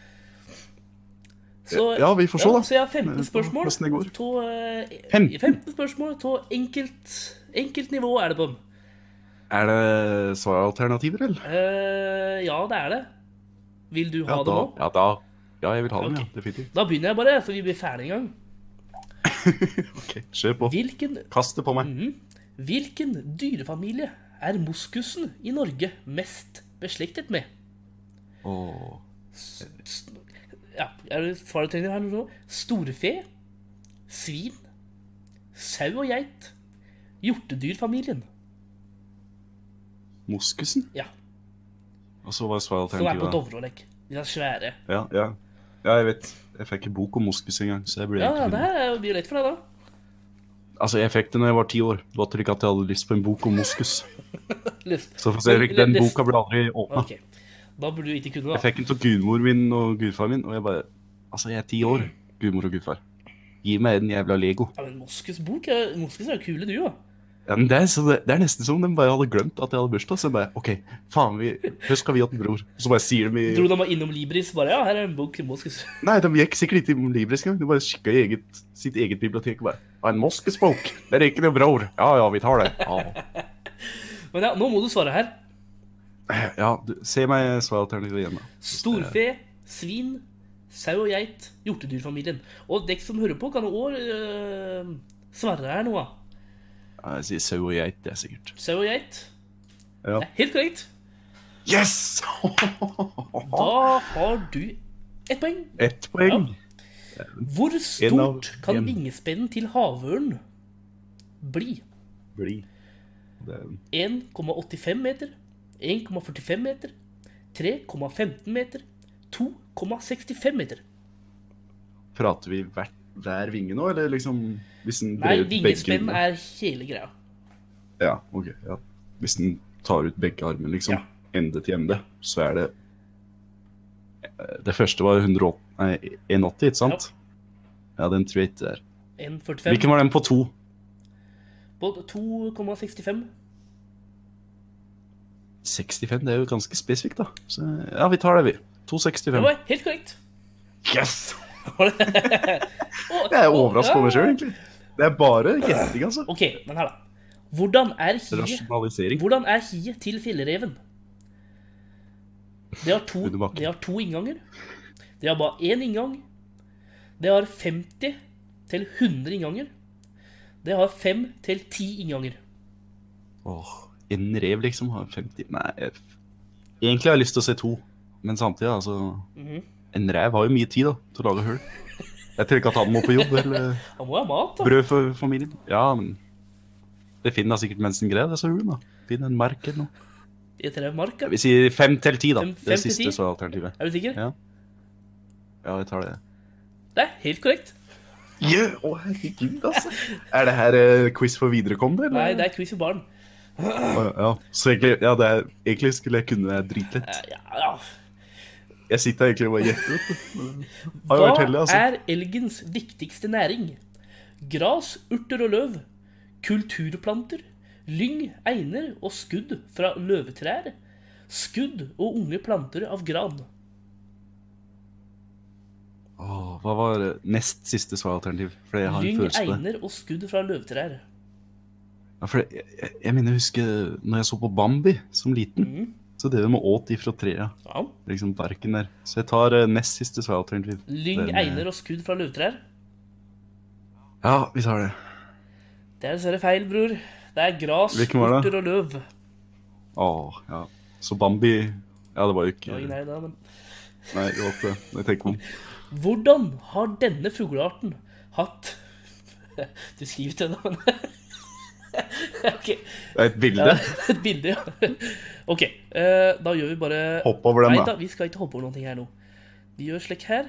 Speaker 3: Så-
Speaker 2: Ja, vi får se,
Speaker 3: ja,
Speaker 2: da.
Speaker 3: Så jeg har 15 spørsmål.
Speaker 2: Hvordan det går.
Speaker 3: To, eh,
Speaker 2: 15?
Speaker 3: 15 spørsmål på enkelt, enkelt nivå er det på dem.
Speaker 2: Er det svaralternativer, eller?
Speaker 3: Eh, ja, det er det. Vil du ha
Speaker 2: Ja,
Speaker 3: det
Speaker 2: da,
Speaker 3: nå?
Speaker 2: ja, da. ja, jeg vil ha dem,
Speaker 3: Ok.
Speaker 2: ja. Definitivt.
Speaker 3: Da begynner jeg bare, så vi blir ferdig en gang.
Speaker 2: Ok, Kjør på.
Speaker 3: Hvilken,
Speaker 2: Kast det på meg.
Speaker 3: Mm. hvilken dyrefamilie er moskusen i Norge mest beslektet med?
Speaker 2: Åh.
Speaker 3: S- Ja, er det faretrening her nå? Storfe, svin, sau og geit, hjortedyrfamilien.
Speaker 2: Moskusen?
Speaker 3: Ja,
Speaker 2: Og så var
Speaker 3: som er på
Speaker 2: svaralternativet.
Speaker 3: Dovrelegg. De er svære.
Speaker 2: Ja, ja. ja, jeg vet. Jeg fikk en bok om moskus en gang, så jeg ble
Speaker 3: Ja,
Speaker 2: egentlig-
Speaker 3: det her er jo mye lett for deg, da.
Speaker 2: Altså, jeg fikk det når jeg var ti år. Det var til ikke at jeg hadde lyst på en bok om moskus.
Speaker 3: Lyst.
Speaker 2: Så for å si det, den
Speaker 3: Lyst-
Speaker 2: boka ble aldri åpnet.
Speaker 3: Ok, da burde du ikke kunne,
Speaker 2: Jeg
Speaker 3: da.
Speaker 2: fikk den til gudmor min og gudfar min, og jeg bare Altså, jeg er ti år, gudmor og gudfar. Gi meg den jævla Lego.
Speaker 3: Ja, men Moskus bok er, Moskus er jo kule, du, da.
Speaker 2: Ja, men det, er, så det, det er nesten som de bare hadde glemt at jeg hadde bursdag. Så jeg bare OK, faen, vi først skal vi ha en bror. Og så bare sier de
Speaker 3: Dro
Speaker 2: i
Speaker 3: de innom Libris bare Ja, her er en bok. Moskus.
Speaker 2: Nei, de gikk sikkert ikke i Libris engang. De bare kikka i eget, sitt eget bibliotek og bare «Ja, En moskespok! Det er ikke noe bror. Ja ja, vi tar det. Ja,
Speaker 3: Men ja, nå må du svare her.
Speaker 2: ja du, se meg svaralternativet igjen, da.
Speaker 3: Storfe, svin, sau og geit, hjortedyrfamilien. Og dere som hører på, kan òg øh, svare her nå, da.
Speaker 2: Ja, Jeg sier sau og geit, det er sikkert.
Speaker 3: Sau og geit.
Speaker 2: Ja.
Speaker 3: Det er helt korrekt.
Speaker 2: Yes!
Speaker 3: Da har du ett poeng.
Speaker 2: Ett poeng.
Speaker 3: Hvor
Speaker 2: av
Speaker 3: stort kan
Speaker 2: en.
Speaker 3: vingespennen til havørnen bli?
Speaker 2: Bli. Det er
Speaker 3: 1,85 meter, 1,45 meter, 3,15 meter, 2,65 meter.
Speaker 2: Prater vi hver, hver vinge nå, eller liksom hvis den
Speaker 3: Nei,
Speaker 2: brer ut begge
Speaker 3: vingespenn
Speaker 2: vingene?
Speaker 3: er hele greia.
Speaker 2: Ja, ok. Ja. Hvis den tar ut begge armene, liksom.
Speaker 3: Ja.
Speaker 2: ende til ende, så er det eh, Det første var 180, nei, 180 ikke sant? Ja, den tror jeg ikke det er.
Speaker 3: 1,45
Speaker 2: Hvilken var den på to?
Speaker 3: på 2,65.
Speaker 2: 65, det er jo ganske spesifikt, da. Så ja, vi tar det, vi.
Speaker 3: Det
Speaker 2: 265.
Speaker 3: var helt korrekt.
Speaker 2: Yes!
Speaker 3: Og-
Speaker 2: Jeg er
Speaker 3: og-
Speaker 2: overraska over meg sjøl,
Speaker 3: ja.
Speaker 2: egentlig. Det er bare gjetting, altså.
Speaker 3: OK, men her, da. Hvordan er hiet
Speaker 2: Rasjonalisering.
Speaker 3: Hvordan er hiet til fjellreven? Det har to,
Speaker 2: Under bakken.
Speaker 3: det har to innganger. Det har bare én inngang. Det har 50 til 100 innganger. Det har 5 til 10 innganger.
Speaker 2: Åh, en rev liksom har 50 Nei, jeg... egentlig har jeg lyst til å se to, men samtidig, altså En rev har jo mye tid, da, til å lage hull. Jeg tenker at han må på jobb, eller eh,
Speaker 3: Da må jeg ha mat, da.
Speaker 2: brød for familien. Ja, men Det finner jeg sikkert mens en greier disse hulene. da. Finn en merk eller noe.
Speaker 3: I trevmarka.
Speaker 2: Vi sier fem til ti, da.
Speaker 3: Fem-
Speaker 2: det
Speaker 3: fem til
Speaker 2: siste
Speaker 3: ti?
Speaker 2: så er alternativet.
Speaker 3: Er du sikker?
Speaker 2: Ja. Ja, jeg tar det.
Speaker 3: Det er helt korrekt.
Speaker 2: Jø, å herregud, altså. Er det her eh, quiz for viderekomne, eller?
Speaker 3: Nei, det er quiz for barn.
Speaker 2: Å, Ja, så egentlig, ja, det er, egentlig skulle jeg kunne det dritlett.
Speaker 3: Ja, ja.
Speaker 2: Jeg sitter egentlig og bare gjetter. vet du. Har jo
Speaker 3: Hva
Speaker 2: vært heldig, altså.
Speaker 3: er elgens viktigste næring? Gras, urter og løv. Kulturplanter. Lyng, einer og skudd fra løvetrær. Skudd og unge planter av gran.
Speaker 2: Åh, hva var eh, nest siste svaralternativ? For jeg har en
Speaker 3: Lyng,
Speaker 2: følelse på det.
Speaker 3: einer og skudd fra løvetrær.
Speaker 2: Ja, for jeg, jeg, jeg mener jeg husker når jeg så på Bambi som liten,
Speaker 3: Mhm.
Speaker 2: så det vi åt ifra trea.
Speaker 3: Ja.
Speaker 2: Liksom barken der. Så jeg tar eh, nest siste svaralternativ.
Speaker 3: Lyng,
Speaker 2: Den, eh,
Speaker 3: einer og skudd fra løvetrær.
Speaker 2: Ja, vi tar det.
Speaker 3: Det er dessverre feil, bror. Det er gras,
Speaker 2: Hvilken var det?
Speaker 3: urter og løv.
Speaker 2: Åh, ja. Så Bambi Ja, det var jo ikke
Speaker 3: Ja,
Speaker 2: Nei,
Speaker 3: nei, da, men...
Speaker 2: det var ikke det. Jeg tenker om.
Speaker 3: Hvordan har denne fuglearten hatt Du skriver til henne, men Ok.
Speaker 2: Det er et bilde.
Speaker 3: Ja, et bilde, ja. Ok, eh, da gjør vi bare
Speaker 2: Hopp over den,
Speaker 3: Nei da,
Speaker 2: da.
Speaker 3: vi skal ikke hoppe over noen ting her nå. Vi gjør slik her.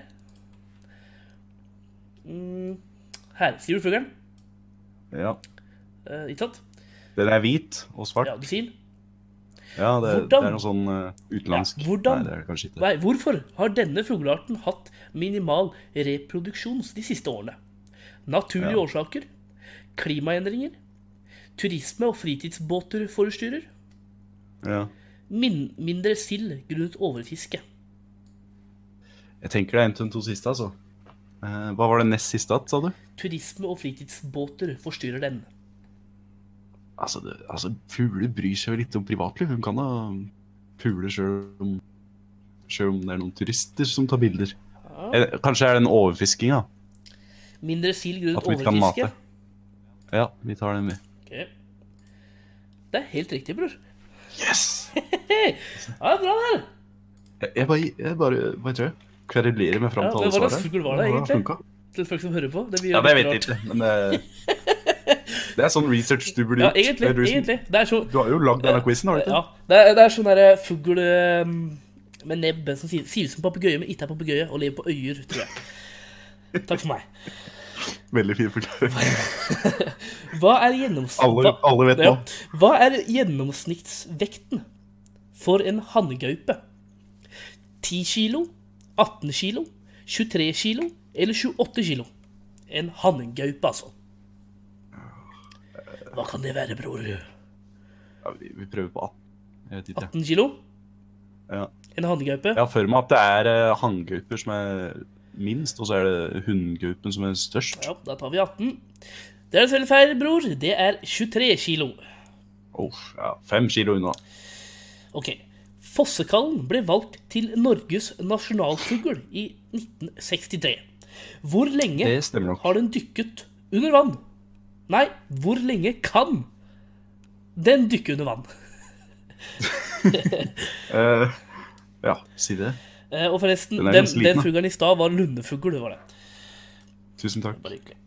Speaker 3: Mm, her. Skriver du fuglen?
Speaker 2: Ja.
Speaker 3: Eh, ikke sant?
Speaker 2: Den er hvit og svart.
Speaker 3: Ja, du sier den.
Speaker 2: Ja, det, det
Speaker 3: Hvordan-
Speaker 2: er noe sånn eh, utenlandsk.
Speaker 3: Ja, hvordan-
Speaker 2: Nei, det er det kanskje ikke.
Speaker 3: Nei, hvorfor har denne fuglearten hatt minimal reproduksjon de siste årene? Naturlige
Speaker 2: Ja.
Speaker 3: årsaker, klimaendringer, turisme og fritidsbåter forstyrrer,
Speaker 2: Ja.
Speaker 3: min mindre sild grunnet overfiske.
Speaker 2: Jeg tenker det er en til de to siste, altså. Eh, hva var det nest siste igjen, sa du?
Speaker 3: Turisme og fritidsbåter forstyrrer den.
Speaker 2: Altså, det, altså, fugler bryr seg jo litt om privatliv. Hun kan da pule sjøl om Sjøl om det er noen turister som tar bilder. Eller, kanskje er det en overfisking, da.
Speaker 3: Mindre sild
Speaker 2: At
Speaker 3: grunnet
Speaker 2: vi ikke kan mate.
Speaker 3: overfiske.
Speaker 2: Ja, vi tar den, vi.
Speaker 3: Ok. Det er helt riktig, bror.
Speaker 2: Yes!
Speaker 3: Hei, ja, det er bra det her.
Speaker 2: Jeg, jeg bare, jeg bare Hva heter det? Kverulerer meg fram
Speaker 3: Ja,
Speaker 2: til
Speaker 3: men
Speaker 2: alle
Speaker 3: hva slags
Speaker 2: svarene.
Speaker 3: fugl var det
Speaker 2: Hvordan
Speaker 3: egentlig?
Speaker 2: funka?
Speaker 3: Til folk som hører på. Det blir
Speaker 2: Ja, det vet jeg
Speaker 3: rart.
Speaker 2: ikke, men det, det er sånn research du burde
Speaker 3: Ja,
Speaker 2: gjort.
Speaker 3: egentlig.
Speaker 2: Det er du som-
Speaker 3: egentlig. Det er så
Speaker 2: Du har jo lagd denne quizen, har du ikke?
Speaker 3: Ja, det er, det er sånn derre fugl ehm, med nebb som sier, sier ut som papegøye, men ikke er papegøye, og lever på øyer, tror jeg. Takk for meg.
Speaker 2: Veldig fin forklaring.
Speaker 3: Hva er gjennoms...
Speaker 2: Alle,
Speaker 3: hva-
Speaker 2: alle vet nå.
Speaker 3: Ja. Hva er gjennomsnittsvekten for en hanngaupe? 10 kilo, 18 kilo, 23 kilo eller 28 kilo? En hanngaupe, altså. Hva kan det være, bror?
Speaker 2: Ja, vi, vi prøver på 18. Jeg vet ikke.
Speaker 3: 18 kilo?
Speaker 2: Ja.
Speaker 3: En hanngaupe?
Speaker 2: Jeg har for meg at det er eh, hanngauper som er minst, og så er det hunngaupen som er størst.
Speaker 3: Ja, da tar vi 18. Det er selvfølgelig feil, bror. Det er 23 kilo.
Speaker 2: Åh, ja, fem kilo unna.
Speaker 3: Ok. Fossekallen ble valgt til Norges nasjonalfugl i 1963. Hvor lenge
Speaker 2: Det stemmer nok.
Speaker 3: har den dykket under vann? Nei, hvor lenge kan den dykke under vann?
Speaker 2: Eh, ja, si det.
Speaker 3: Eh, og forresten,
Speaker 2: Den er
Speaker 3: den,
Speaker 2: ganske liten,
Speaker 3: den
Speaker 2: da.
Speaker 3: fuglen i stad var lundefugl. det var det.
Speaker 2: Tusen takk.
Speaker 3: Bare hyggelig.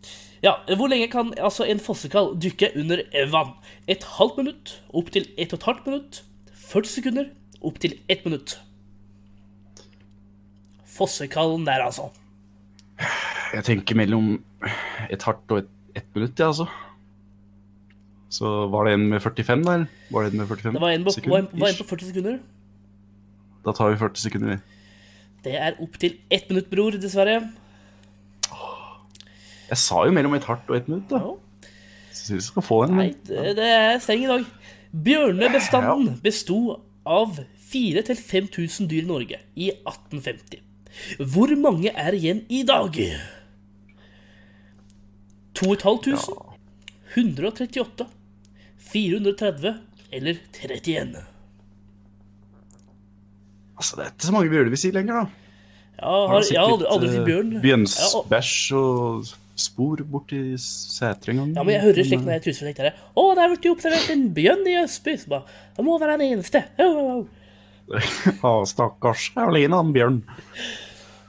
Speaker 3: Ja, Hvor lenge kan altså en fossekall dykke under vann? Et halvt minutt, opp til ett og et halvt minutt, 40 sekunder, opp til ett minutt. Fossekallen der, altså.
Speaker 2: Jeg tenker mellom et hardt og et, ett minutt, ja, altså. Så var det en med 45, da, eller? Var det en med 45
Speaker 3: Det var en på, var en, var en
Speaker 2: Ish.
Speaker 3: på 40 sekunder.
Speaker 2: Da tar vi 40 sekunder, vi.
Speaker 3: Det er opptil ett minutt, bror, dessverre.
Speaker 2: Jeg sa jo mellom et hardt og et minutt, da.
Speaker 3: Ja.
Speaker 2: Så jeg synes jeg skal få en.
Speaker 3: Nei, eh, det det er streng i dag. Bjørnebestanden besto av 4000-5000 dyr i Norge i 1850. Hvor mange er igjen i dag? 2500? 138? 430? Eller 31?
Speaker 2: Altså, det er ikke så mange bjørner vi sier lenger, da.
Speaker 3: Ja, har, jeg har aldri, aldri sett eh, bjørn. Ja, og-
Speaker 2: Bjønnsbæsj og spor borti Sætre en gang.
Speaker 3: Ja, men jeg hører slikt når jeg tusen slekter. 'Å, det har blitt observert en bjørn i Østby.' Så bare 'Det må være den eneste.' Au, au, au.
Speaker 2: Ja, stakkars Aulina, han bjørn.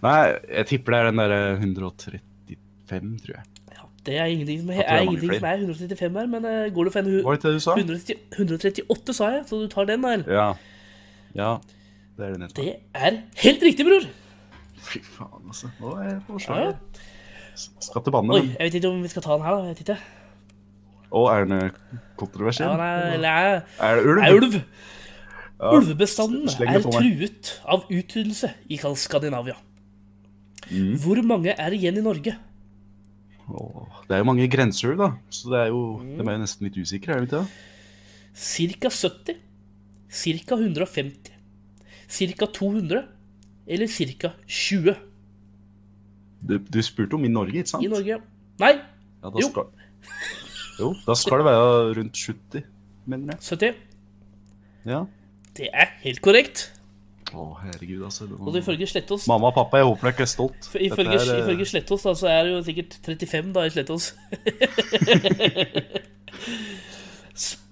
Speaker 2: Nei, jeg tipper det er den derre 135, tror jeg.
Speaker 3: Ja, det er ingenting som
Speaker 2: Jeg tror
Speaker 3: er,
Speaker 2: det er mange
Speaker 3: ingenting som er 135 her, men eh, går du for en hu-
Speaker 2: Var det ikke det du sa?
Speaker 3: 130 138, sa jeg, så du tar den, da. eller?
Speaker 2: Ja. ja. Det er det nettopp.
Speaker 3: Det er helt riktig, bror!
Speaker 2: Fy faen, altså. Nå er jeg på
Speaker 3: Ja, ja.
Speaker 2: slag. Skal til banne,
Speaker 3: Oi,
Speaker 2: men.
Speaker 3: jeg vet ikke om vi skal ta den her, da. Jeg vet ikke.
Speaker 2: Å, er den eh,
Speaker 3: Ja,
Speaker 2: kontroversiell?
Speaker 3: nei, eller
Speaker 2: Er det ulv?
Speaker 3: er ulv.
Speaker 2: Ja.
Speaker 3: Ulvebestanden
Speaker 2: sleng
Speaker 3: er
Speaker 2: det på meg.
Speaker 3: truet av utryddelse i Skandinavia.
Speaker 2: Mm.
Speaker 3: Hvor mange er igjen i Norge?
Speaker 2: Åh, Det er jo mange grenser, da. Så det er jo,
Speaker 3: Mm.
Speaker 2: de er jo nesten litt usikre, er de ikke det?
Speaker 3: Cirka 70? Cirka 150? Cirka 200? Eller cirka 20
Speaker 2: Du, du spurte om i Norge, ikke sant?
Speaker 3: i Norge? Nei,
Speaker 2: Ja,
Speaker 3: Jo.
Speaker 2: da skal... Jo, da skal det være rundt 70, mener jeg.
Speaker 3: 70.
Speaker 2: Ja.
Speaker 3: Det er helt korrekt.
Speaker 2: Å, herregud, altså. det var-
Speaker 3: Og ifølge Slettås
Speaker 2: Mamma og pappa, jeg håper dere ikke er stolt.
Speaker 3: f- Ifølge,
Speaker 2: Dette er, eh,
Speaker 3: ifølge Slettås da, så er det jo sikkert 35 da i Slettås.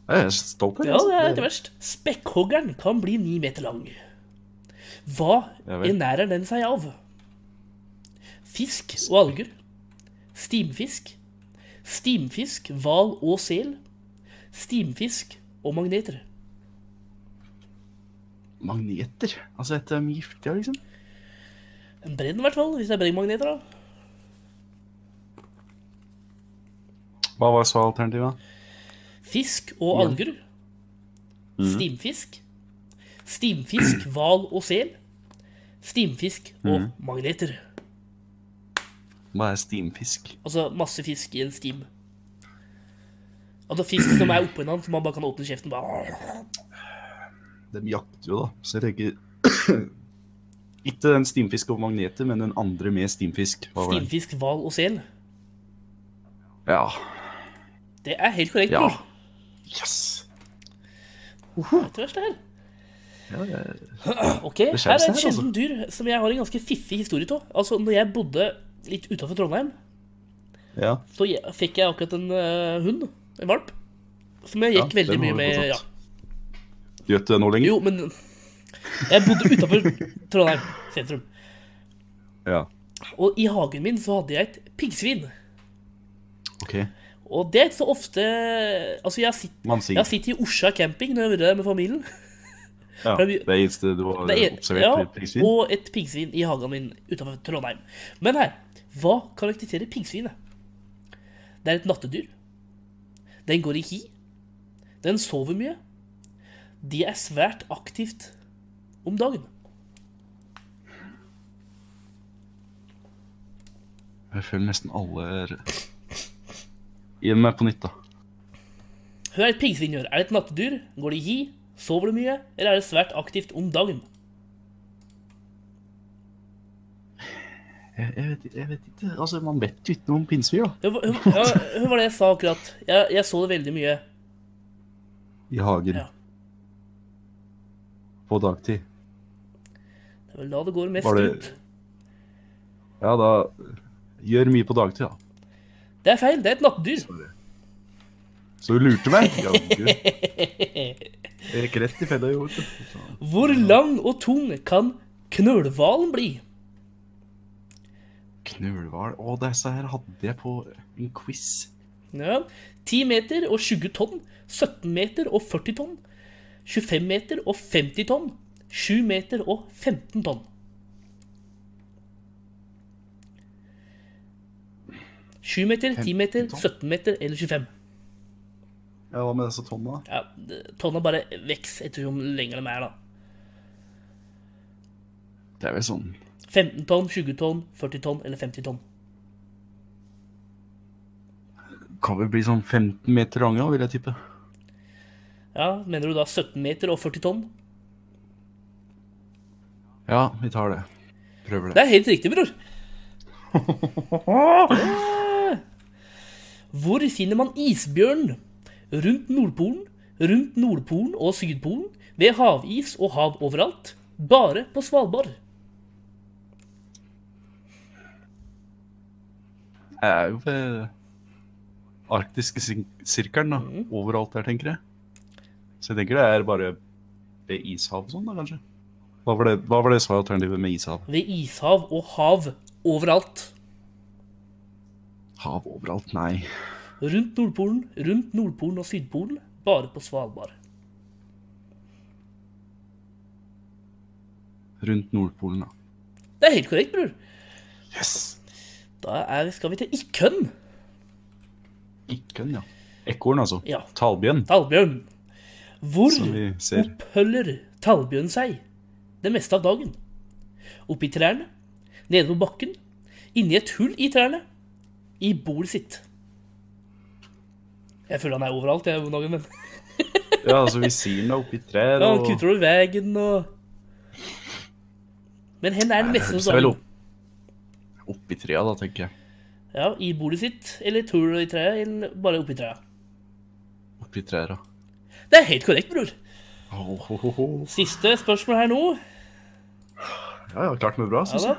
Speaker 2: Jeg er stolt her,
Speaker 3: Ja, det er
Speaker 2: altså.
Speaker 3: ikke verst. Spekkhoggeren kan bli 9 meter lang. Hva
Speaker 2: Ja vel.
Speaker 3: ernærer den seg av? Fisk og alger. Stimfisk. Stimfisk, hval og sel. Stimfisk og magneter.
Speaker 2: Magneter. Altså, dette er giftig, liksom.
Speaker 3: En brenn i hvert fall, hvis det er brennmagneter. da.
Speaker 2: Hva var så alternativet?
Speaker 3: Fisk og alger.
Speaker 2: Mm.
Speaker 3: Stimfisk. Stimfisk, hval og sel. Stimfisk
Speaker 2: Mm.
Speaker 3: og magneter.
Speaker 2: Hva er steamfisk?
Speaker 3: Altså masse fisk i en stim. Altså fisk som er oppå en annen, så man bare kan åpne kjeften bare
Speaker 2: De jakter jo, da. Så jeg tenker Ikke den steamfisk og magneter, men den andre med steamfisk. Hva var det?
Speaker 3: Stimfisk, hval og sel.
Speaker 2: Ja.
Speaker 3: Det er helt korrekt.
Speaker 2: Ja.
Speaker 3: bror.
Speaker 2: Yes!
Speaker 3: Det er ikke verst, det her.
Speaker 2: Ja, jeg-
Speaker 3: Ok, Her
Speaker 2: skjer seg
Speaker 3: er et
Speaker 2: her, altså.
Speaker 3: sjelden dyr som jeg har en ganske fiffig historie av. Altså, når jeg bodde litt utafor Trondheim,
Speaker 2: ja.
Speaker 3: så jeg, fikk jeg akkurat en eh, hund, en valp, som jeg
Speaker 2: Ja,
Speaker 3: gikk
Speaker 2: den
Speaker 3: veldig
Speaker 2: har
Speaker 3: mye
Speaker 2: du
Speaker 3: med.
Speaker 2: fortsatt.
Speaker 3: Ja.
Speaker 2: Gjør ikke det nå lenger?
Speaker 3: Jo, men jeg bodde utafor Trondheim sentrum.
Speaker 2: Ja.
Speaker 3: Og i hagen min så hadde jeg et piggsvin.
Speaker 2: OK.
Speaker 3: Og det er ikke så ofte Altså, jeg har sett
Speaker 2: Mansing.
Speaker 3: Jeg har sittet i Osha camping når jeg har vært der med familien.
Speaker 2: Ja,
Speaker 3: for
Speaker 2: det
Speaker 3: vi-
Speaker 2: er eneste du har
Speaker 3: Det er-
Speaker 2: observert?
Speaker 3: ja,
Speaker 2: ved piggsvin.
Speaker 3: Og et piggsvin i hagen min utenfor Trondheim. Men her, hva karakteriserer piggsvinet? Det er et nattedyr. Den går i hi. Den sover mye. De er svært aktivt om dagen.
Speaker 2: Jeg føler nesten alle er Gi meg på nytt, da.
Speaker 3: Hør hva et piggsvin gjør. Er det et nattedyr? Går det i hi? Sover det mye? Eller er det svært aktivt om dagen?
Speaker 2: Jeg, jeg, vet, jeg vet ikke. Altså, Man vet jo ikke noe om pinnsvin, da.
Speaker 3: Hør hva- hør- hør- hør hva det jeg sa akkurat. Jeg, jeg så det veldig mye.
Speaker 2: I hagen.
Speaker 3: Ja.
Speaker 2: På dagtid.
Speaker 3: Det er vel da det går mest
Speaker 2: Var det-
Speaker 3: ut.
Speaker 2: Ja, da Gjør mye på dagtid, da.
Speaker 3: Det er feil. Det er et nattedyr.
Speaker 2: Så du lurte meg? Ja, gud. Jeg gikk rett i fella i år. vet du.
Speaker 3: Hvor lang og tung kan knølhvalen bli?
Speaker 2: Knølhval Å, disse her hadde jeg på en quiz.
Speaker 3: Ja. 10 meter og 20 tonn. 17 meter og 40 tonn. 25 meter og 50 tonn. 7 meter og 15 tonn. 7 meter, 10 meter,
Speaker 2: 15 tonn.
Speaker 3: 17 meter eller 25.
Speaker 2: Ja, Hva med disse tonna?
Speaker 3: Ja, det- Tonna bare vokser etter hvor lenge de er, da.
Speaker 2: Det er vel sånn
Speaker 3: 15 tonn, 20 tonn, 40 tonn eller 50 tonn.
Speaker 2: Kan vel bli sånn 15 meter lange, da, vil jeg tippe.
Speaker 3: Ja, Mener du da 17 meter og 40 tonn?
Speaker 2: Ja, vi tar det. Prøver
Speaker 3: Det
Speaker 2: det.
Speaker 3: er helt riktig, bror. Hvor finner man isbjørn? Rundt Nordpolen, rundt Nordpolen og Sydpolen, ved havis og hav overalt, bare på Svalbard.
Speaker 2: Jeg er jo ved arktiske sir- sirkelen, da.
Speaker 3: Mm.
Speaker 2: Overalt der, tenker jeg. Så jeg tenker det er bare ved ishav og sånn, da, kanskje. Hva var det, hva var det som var alternativet med ishav?
Speaker 3: Ved ishav og hav overalt.
Speaker 2: Hav overalt? Nei.
Speaker 3: Rundt Nordpolen, rundt Nordpolen og Sydpolen, bare på Svalbard.
Speaker 2: Rundt Nordpolen, da.
Speaker 3: Det er helt korrekt, bror.
Speaker 2: Yes!
Speaker 3: Da er, skal vi til Ikkønn.
Speaker 2: Ikke en, ja. Ekorn, altså.
Speaker 3: Ja.
Speaker 2: Talbjørn,
Speaker 3: Talbjørn. Hvor
Speaker 2: som vi ser.
Speaker 3: oppholder talbjørn seg det meste av dagen? Oppi trærne, nede på bakken, inni et hull i trærne, i bolet sitt. Jeg føler han er overalt, jeg, om dagen, men
Speaker 2: Ja, altså, vi ser den da oppi trær
Speaker 3: ja,
Speaker 2: og
Speaker 3: han kutter over veien og Men hen er den
Speaker 2: Det
Speaker 3: meste
Speaker 2: høres
Speaker 3: av
Speaker 2: vel
Speaker 3: dagen.
Speaker 2: opp. Oppi trær, da, tenker jeg.
Speaker 3: Ja, I bolet sitt, eller et hull i treet, eller bare oppi trærne.
Speaker 2: Oppi trær, da.
Speaker 3: Det er helt korrekt, bror.
Speaker 2: Ho, ho, ho, ho.
Speaker 3: Siste spørsmål her nå.
Speaker 2: Ja, ja, klart meg bra,
Speaker 3: Ja
Speaker 2: synes
Speaker 3: da.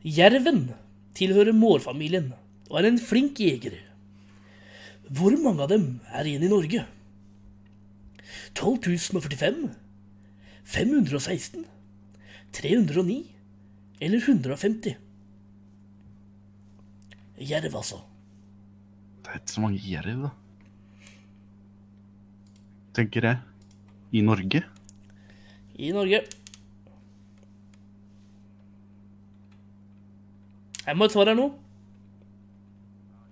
Speaker 2: jeg.
Speaker 3: Jerven tilhører mårfamilien og er en flink jeger. Hvor mange av dem er igjen i Norge? 12.045? 516? 309? Eller 150? Jerv, altså.
Speaker 2: Det er ikke så mange jerv, da. Tenker jeg. I Norge.
Speaker 3: I Norge. Jeg må ha et svar her nå.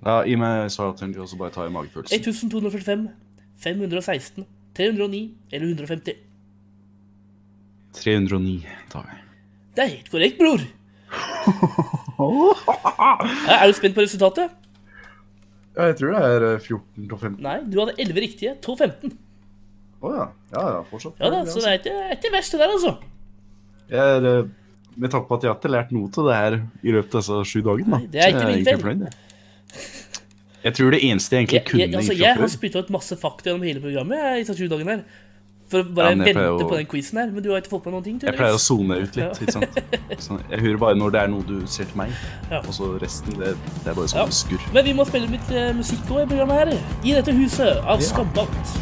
Speaker 2: Ja, I og med så jeg også bare ta i magefølelsen.
Speaker 3: 1245, 516, 309 eller 150.
Speaker 2: 309 tar vi.
Speaker 3: Det er helt korrekt, bror. Ja, Er du spent på resultatet?
Speaker 2: Ja, jeg tror det er eh, 14 til 15.
Speaker 3: Nei, du hadde 11 riktige. 215.
Speaker 2: Å ja. Ja, ja, fortsatt.
Speaker 3: Ja da, så det er ikke, ikke verst, det der, altså.
Speaker 2: Jeg er, eh, med tanke på at jeg har ikke lært noe til det her i løpet av disse sju dagene. da.
Speaker 3: det er ikke
Speaker 2: Så jeg
Speaker 3: min
Speaker 2: egentlig fornøyd, jeg. Jeg tror det eneste jeg egentlig
Speaker 3: Jeg,
Speaker 2: kunne
Speaker 3: jeg, altså,
Speaker 2: fra
Speaker 3: jeg har
Speaker 2: før-
Speaker 3: spytta ut masse fakta gjennom hele programmet. Jeg, i disse 20 dagene her For å bare
Speaker 2: Ja, men jeg
Speaker 3: vente
Speaker 2: pleier å-
Speaker 3: på den quizen her. Men du har ikke fått med noen ting?
Speaker 2: Jeg pleier å
Speaker 3: tydeligvis.
Speaker 2: sone ut litt, ikke sant. Sånn, jeg hører bare når det er noe du ser til meg,
Speaker 3: Ja.
Speaker 2: og så resten, det, det er bare
Speaker 3: Ja.
Speaker 2: sånn skurr.
Speaker 3: Men vi må spille litt eh, musikk også i programmet her. I dette huset av Skambalt.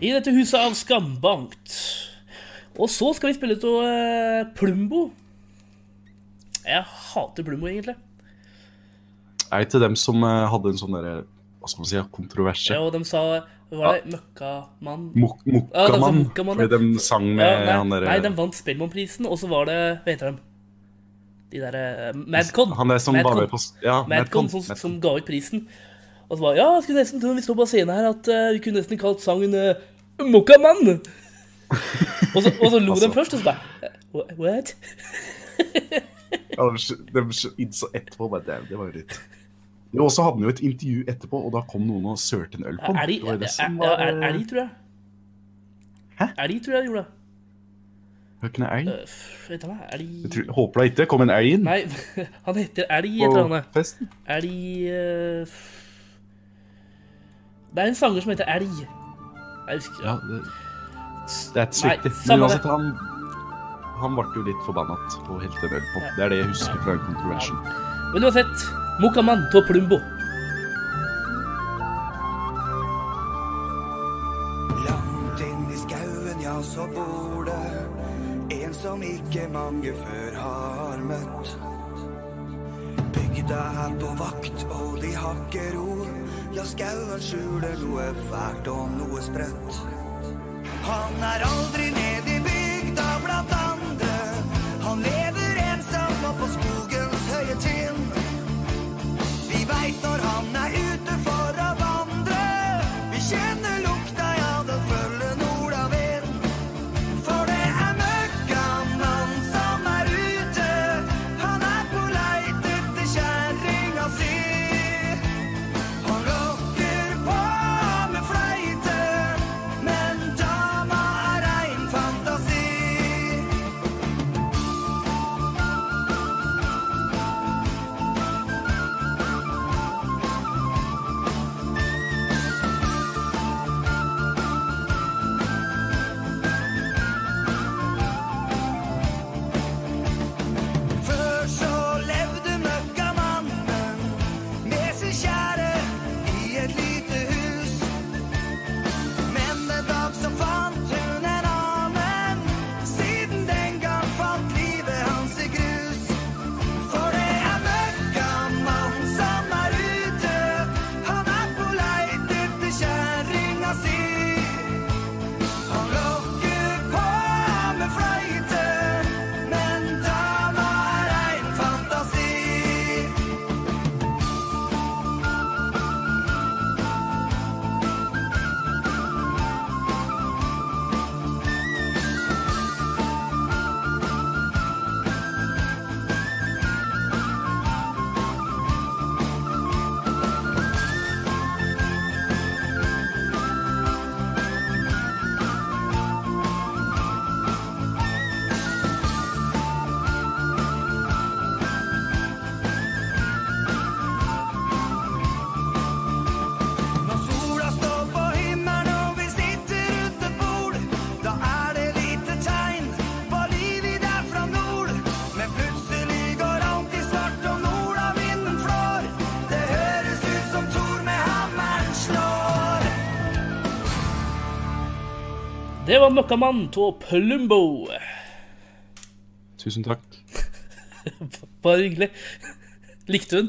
Speaker 3: I dette huset av Skambankt. Og så skal vi spille ut av eh, Plumbo. Jeg hater Plumbo, egentlig.
Speaker 2: Er det til dem som eh, hadde en sånn derre Hva skal man si, kontroverse?
Speaker 3: Ja, og de sa Var det Møkkamann?
Speaker 2: Mok
Speaker 3: Ja, det var
Speaker 2: Mokkamann,
Speaker 3: Mokkamann,
Speaker 2: fordi
Speaker 3: ja.
Speaker 2: de sang med
Speaker 3: Ja,
Speaker 2: han eh,
Speaker 3: nei,
Speaker 2: derre
Speaker 3: nei, de vant Spellemannprisen, og så var det Hva heter de? De derre Madcon.
Speaker 2: Han der som var
Speaker 3: Madcon.
Speaker 2: med på s- Ja,
Speaker 3: Madcon som, som ga ut prisen. Og så var Ja, jeg skulle nesten tro vi står på scenen her at eh, vi kunne nesten kalt sangen uh, Mokkamann. og, så, og så lo
Speaker 2: Altså.
Speaker 3: de først, og så bare eh, What?
Speaker 2: Ja, de sk- de sk- innså etterpå bare det, det var jo dritt. Jo, og så hadde han jo et intervju etterpå, og da kom noen og sølte en øl på
Speaker 3: Er
Speaker 2: han.
Speaker 3: de,
Speaker 2: Det var
Speaker 3: er,
Speaker 2: jo det
Speaker 3: er,
Speaker 2: som
Speaker 3: ja,
Speaker 2: var
Speaker 3: er, er de, tror jeg.
Speaker 2: Hæ?
Speaker 3: Er de, tror jeg, gjorde det.
Speaker 2: Høkken er elg.
Speaker 3: Øh, f- Vet du hva, er
Speaker 2: Jeg
Speaker 3: de
Speaker 2: tror, håper da ikke det kom en elg inn
Speaker 3: Nei, han heter Elg, et eller
Speaker 2: på
Speaker 3: annet.
Speaker 2: festen.
Speaker 3: Er de øh, f- Det er en sanger som heter Elg. Jeg husker
Speaker 2: Ja, det, det er ikke så
Speaker 3: Nei,
Speaker 2: viktig. Men
Speaker 3: samme
Speaker 2: uansett, han, han ble jo litt forbannet og helte en øl på. Det er det jeg husker fra den kontroversen.
Speaker 3: Men uansett, Mokaman til Plumbo.
Speaker 1: Langt inn i skauen, ja, så bor det en som ikke mange før har møtt. Bygda er på vakt, og de har ikke ro. Ja, skauen skjuler noe fælt og noe sprøtt. Han er aldri nede i bygda blant andre. Han lever ensom oppå skogens høye tinn. Vi veit når han er ute for å vandre,
Speaker 3: Det var Møkkamann av Plumbo.
Speaker 2: Tusen takk.
Speaker 3: Bare hyggelig. Likte hun?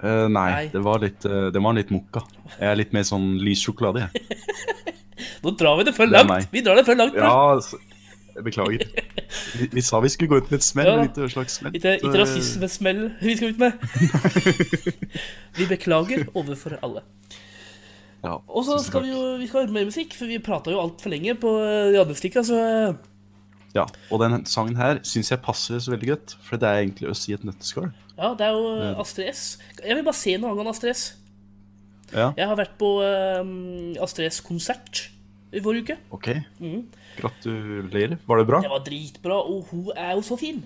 Speaker 2: Eh, nei,
Speaker 3: Nei.
Speaker 2: Det, var litt, eh, det var litt mokka. Jeg er litt mer sånn lys sjokolade, jeg.
Speaker 3: Nå drar vi det for
Speaker 2: Det er
Speaker 3: langt.
Speaker 2: meg.
Speaker 3: Vi drar det for langt. bro.
Speaker 2: Ja, altså, jeg beklager. Vi, vi sa vi skulle gå ut med et smell,
Speaker 3: Ja eh, da.
Speaker 2: et lite slags smell. Eh, Så,
Speaker 3: Ikke, ikke rasismesmell vi skal ut med. Vi beklager overfor alle.
Speaker 2: Ja,
Speaker 3: Og så
Speaker 2: tusen
Speaker 3: skal vi
Speaker 2: takk.
Speaker 3: jo vi skal høre mer musikk, for vi prata jo altfor lenge på eh, radiostikka, så eh,
Speaker 2: Ja, og den sangen her syns jeg passer så veldig godt, for det er egentlig å si et nøtteskall.
Speaker 3: ja, det er jo eh, Astrid S. Jeg vil bare se noe angående Astrid S.
Speaker 2: Ja,
Speaker 3: Jeg har vært på eh, Astrid S-konsert i forrige uke.
Speaker 2: ok.
Speaker 3: Mm.
Speaker 2: Gratulerer. Var det bra?
Speaker 3: Det var dritbra, og hun er jo så fin.